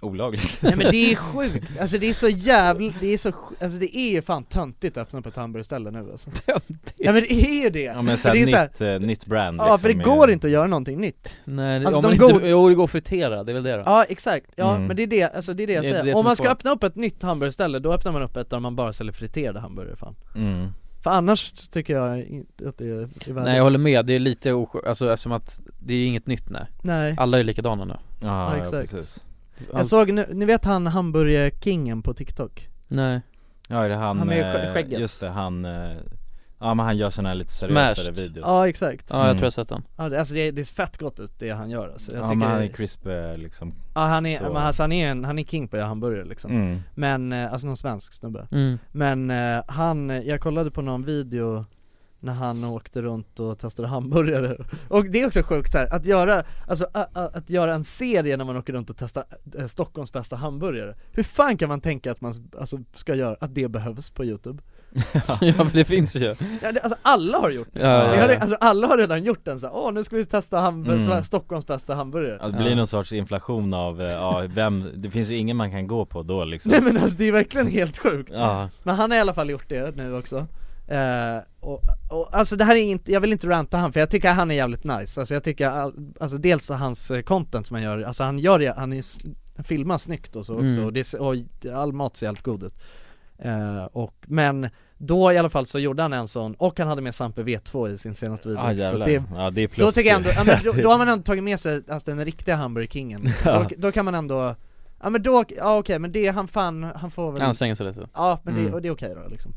Olagligt Nej men det är sjukt, alltså det är så jävla, det är så, sj- alltså det är ju fan töntigt att öppna på ett hamburgerställe nu alltså Töntigt? Ja men det är ju det! Ja men För det är såhär så här- nytt, eh, nytt brand Ja för det liksom, är- går inte att göra någonting nytt Nej, det- Alltså, om de man inte, god- jo det går att fritera, det är väl det då? Ja exakt, ja Mm. men det är det, alltså det är det jag Det är säger. det som Om är man ska på- öppna upp ett nytt hamburgerställe, då öppnar man upp ett där man bara säljer friterade hamburgare fan Mm. För annars tycker jag inte att det är värdigt Nej jag håller med, det är lite oskönt, alltså eftersom att det är inget nytt nu Nej. Alla är likadana nu Ja, ja, exakt. precis. Jag såg, nu, ni vet han hamburgerkingen på TikTok? Nej Ja är det han, Han med skä- eh, skägget. just det han, eh, ja men han gör såna här lite seriösare Smashed. videos Ja exakt Ja, jag tror jag har sett den. Ja, det- alltså det, är- det är fett gott ut det han gör alltså. jag Ja tycker men han är crisp eh, liksom Ja han är, Så- men alltså han är en, han är king på att göra hamburgare liksom Mm. Men, eh, alltså någon svensk snubbe Mm. Men eh, han, jag kollade på någon video när han åkte runt och testade hamburgare Och det är också sjukt så här, att göra, alltså a, a, att göra en serie när man åker runt och testar eh, Stockholms bästa hamburgare Hur fan kan man tänka att man s- alltså, ska göra, att det behövs på youtube? Ja för det finns ju Ja, det, alltså alla har gjort det! Ja, ja, Det har, ja. Alltså alla har redan gjort den så här, åh nu ska vi testa hamburgare, Mm. Stockholms bästa hamburgare Ja, det blir någon sorts inflation av, eh, ja vem, det finns ju ingen man kan gå på då liksom Nej men alltså det är verkligen helt sjukt Ja. Men han har i alla fall gjort det nu också Eh, och, och, alltså det här är inte, jag vill inte ranta han för jag tycker han är jävligt nice Alltså jag tycker, all, alltså dels hans eh, content som han gör, alltså han gör det, han är, s- han filmar snyggt och så också Mm. och, det, ser- och all mat ser helt god ut Eh, och, men då i alla fall så gjorde han en sån, och han hade med Sampe V2 i sin senaste video Ah, jävlar. Ja, det är Då plus tycker jag ju. ändå, ja, men, då, då har man ändå tagit med sig alltså, den riktiga hamburgerkingen liksom. Ja. då, då kan man ändå, ja men då, ja okej men det, han fan, han får väl Anstränga sig lite Ja men det, Mm. och det är okej då liksom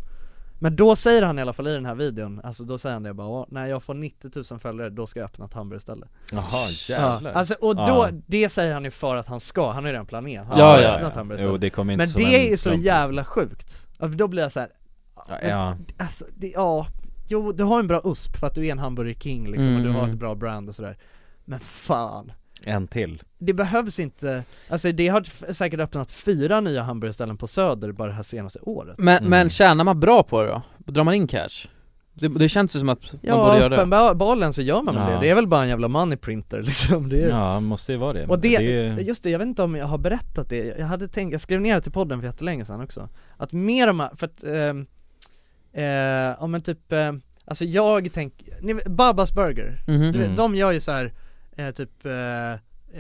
Men då säger han i alla fall i den här videon, alltså då säger han det bara "Åh, när jag får 90 000 följare då ska jag öppna ett hamburgerställe Jaha, jävlar. ja, Alltså och då, Ja. det säger han ju för att han ska, han har ju redan planerat, han Ja, ska ja, öppna ett ja. hamburgerställe. Jo, det kommer inte Men som en det är så slump, jävla sjukt, ja, för då blir jag så här, men, ja. Alltså, det, ja, jo du har en bra USP för att du är en hamburgerking liksom och du Mm, har mm. ett bra brand och sådär Men fan En till det behövs inte, alltså det har f- säkert öppnat fyra nya hamburgerställen på söder bara det här senaste året Men, Mm. men tjänar man bra på det då? Drar man in cash? Det, det känns ju som att man borde göra det uppenbarligen så gör man väl Ja. det, det är väl bara en jävla money printer liksom det är... Ja, måste ju vara det Och det, är- just det, jag vet inte om jag har berättat det, jag hade tänkt, jag skrev ner det till podden för jättelänge sedan också Att mer om, för att, ehm, eh, ja men typ, eh, alltså jag tänker, ni vet, Babas Burger, Mhm. du vet, Mm. de gör ju så här eh, typ eh,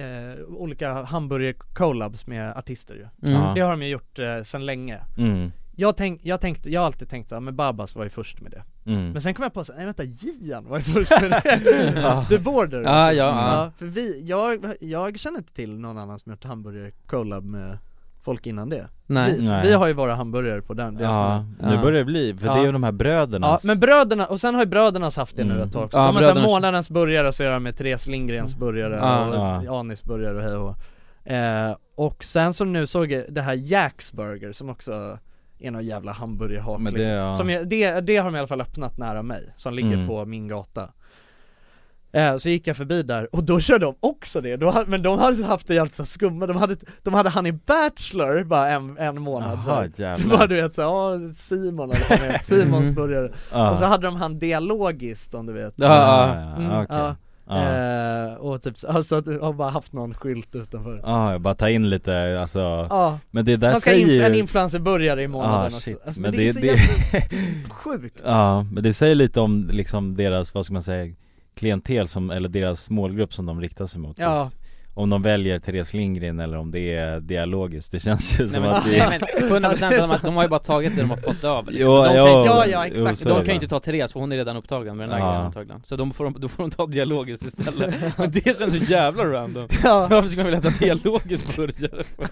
eh, olika hamburger-collabs med artister ju Mm. Ja. Det har de ju gjort eh, sedan länge Mm. jag, tänk, jag, tänkte, jag har alltid tänkt såhär, men Babas var ju först med det Mm. Men sen kom jag på såhär, nej vänta, Gian var ju först med det The Border Ja, alltså. ja, Mm. ja. För vi, jag, jag känner inte till någon annan som gjort hamburger-collab med folk innan det Nej. vi, Nej. vi har ju våra hamburgare på den deras Ja, meny. nu börjar det bli, för det är ju de här brödernas Ja men bröderna, och sen har ju brödernas haft det nu Mm. ett tag också. Ja, De har såhär brödernas- månadens burgare så gör de med Therese Lindgrens Mm. burgare Ja. och Anis burgare och hej och hå. eh, Och sen som nu såg jag det här Jacks burger som också är någon jävla hamburgerhak Men det, liksom. ja. som jag, det, det har de i alla fall öppnat nära mig, som ligger Mm. på min gata Eh, Så gick jag förbi där och då körde de också det, då, ha- men de hade haft det jävligt så här skumma, de hade, de hade han i Bachelor bara en, en månad så, här. jävlar. så bara du vet såhär, ja Simon eller vad han heter, Simons burgare Mm. Ja. Och så hade de han dialogiskt om du vet Mm, Ja, ja, ja, okej. Ja. Eh, Och typ så, så att du har bara haft någon skylt utanför Ja, jag bara ta in lite alltså Ja. Men det där Man ska säger influ- en ju- influencerburgare i månaden Ja, också. shit. Alltså, men men det, det är så det, jävla- det är så sjukt. Ja, men det säger lite om liksom deras, vad ska man säga, klientel som, eller deras målgrupp som de riktar sig mot Ja. just. Om de väljer Therese Lindgren eller om det är dialogiskt, det känns ju som men- att det nej, men 100% av de här- de har ju bara tagit det de har fått av, liksom. Jo, De kan jo, ju- Ja, ja, exakt. jo, så De är kan det. ju inte ta Therese för hon är redan upptagen med den här Ja. grejen antagligen Så de får, de- då får de ta dialogiskt istället Men det känns så jävla random Ja. Varför ska man vilja ta dialogiskt burgare för?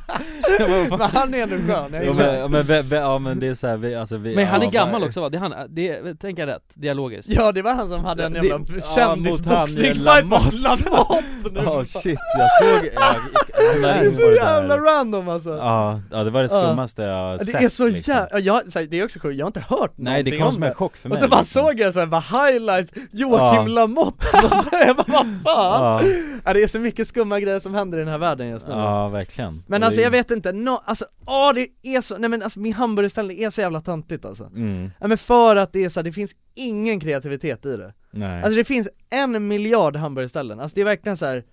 Jag bara, vad fan? Men han är ändå skön, jag ja, gillar men, ja, men, ve- ve- ja men det är så här, vi, alltså vi Men han ja, är gammal också va? Det är han, det, tänk jag rätt, dialogiskt Ja det var han som hade en Det- jävla ja, mot han, kändisboxningsfight eh, mot Lamotte. Lamotte nu! Ja shit, jag såg, jag, jag, Det kollade är in på så det där. jävla random alltså! Ja, ja det var det skummaste jag Ja, har Det sett är så liksom. jävla, jag, så här, det är också sjukt, jag har inte hört Nej det någonting kom om som en chock för mig Och så bara liksom. såg jag såhär, bara highlights, Joakim Ja. Lamotte! jag bara, vad fan! Ja. Ja, det är så mycket skumma grejer som händer i den här världen just nu alltså. Ja verkligen Men Det alltså är- jag vet inte, no, alltså, åh det är så, nej men alltså min hamburgerställning är så jävla töntigt alltså Mm. Ja men för att det är så här, det finns ingen kreativitet i det Nej. Alltså det finns en miljard hamburgerställen, alltså det är verkligen så här.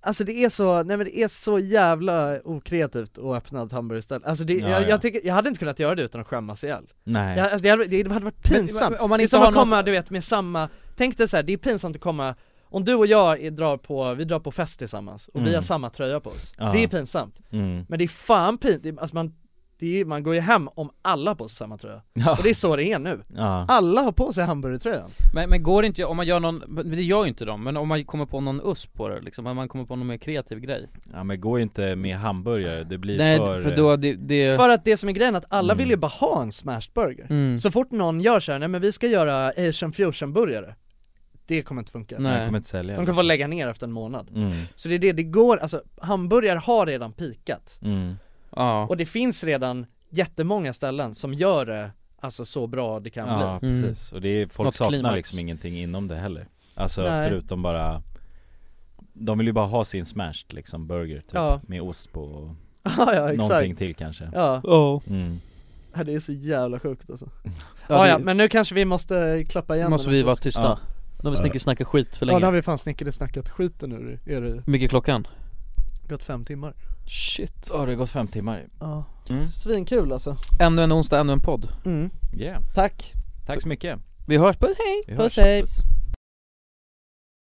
Alltså det är så, nej men det är så jävla okreativt att öppna ett hamburgerställe, alltså det, Ja, jag, ja. jag tycker, jag hade inte kunnat göra det utan att skämmas ihjäl Nej. jag, alltså det, hade, det hade varit Men- pinsamt, men om man det är inte som har att komma något- du vet med samma, tänk dig så här, det är pinsamt att komma om du och jag är, drar på, vi drar på fest tillsammans och vi Mm. har samma tröja på oss, Ja. det är pinsamt Mm. Men det är fan pinsamt, alltså man, det är, man går ju hem om alla har på sig samma tröja Ja. Och det är så det är nu Ja. Alla har på sig hamburgertröjan Men, men går det inte, om man gör någon, men det gör ju inte de, men om man kommer på någon USP på det liksom, om man kommer på någon mer kreativ grej Ja men gå inte med hamburgare, det blir Nej, för... för då, det, det... För att det som är grejen är att alla Mm. vill ju bara ha en smashed burger Mm. Så fort någon gör såhär, nej men vi ska göra asian fusion burgare Det kommer inte funka Nej. eh, Jag kommer inte sälja De det. kan få lägga ner efter en månad Mm. Så det är det, det går, alltså hamburgare har redan pikat Mm. Och det finns redan jättemånga ställen som gör det, alltså så bra det kan Ja bli precis, och det är, folk Något saknar klimax. liksom ingenting inom det heller Alltså Nej. förutom bara De vill ju bara ha sin smashed liksom, burger typ, Ja. med ost på och Ja, ja, exakt. någonting till kanske Ja. Ja. Mm. Ja, Det är så jävla sjukt alltså ja, Ja, ja, det- men nu kanske vi måste klappa igen Måste den här vi vara påsken. tysta? Ja. De har snickrat snackat skit för Ja, länge nu har vi fan snickrat snackat skiten nu är det Mycket klockan? gått fem timmar Mm. Shit Ja det har gått fem timmar Ja, Mm. svinkul alltså Ännu en onsdag, ännu en podd Mm. Yeah. Tack Tack så mycket Vi hörs, puss hej! Vi puss hörs. hej! Puss.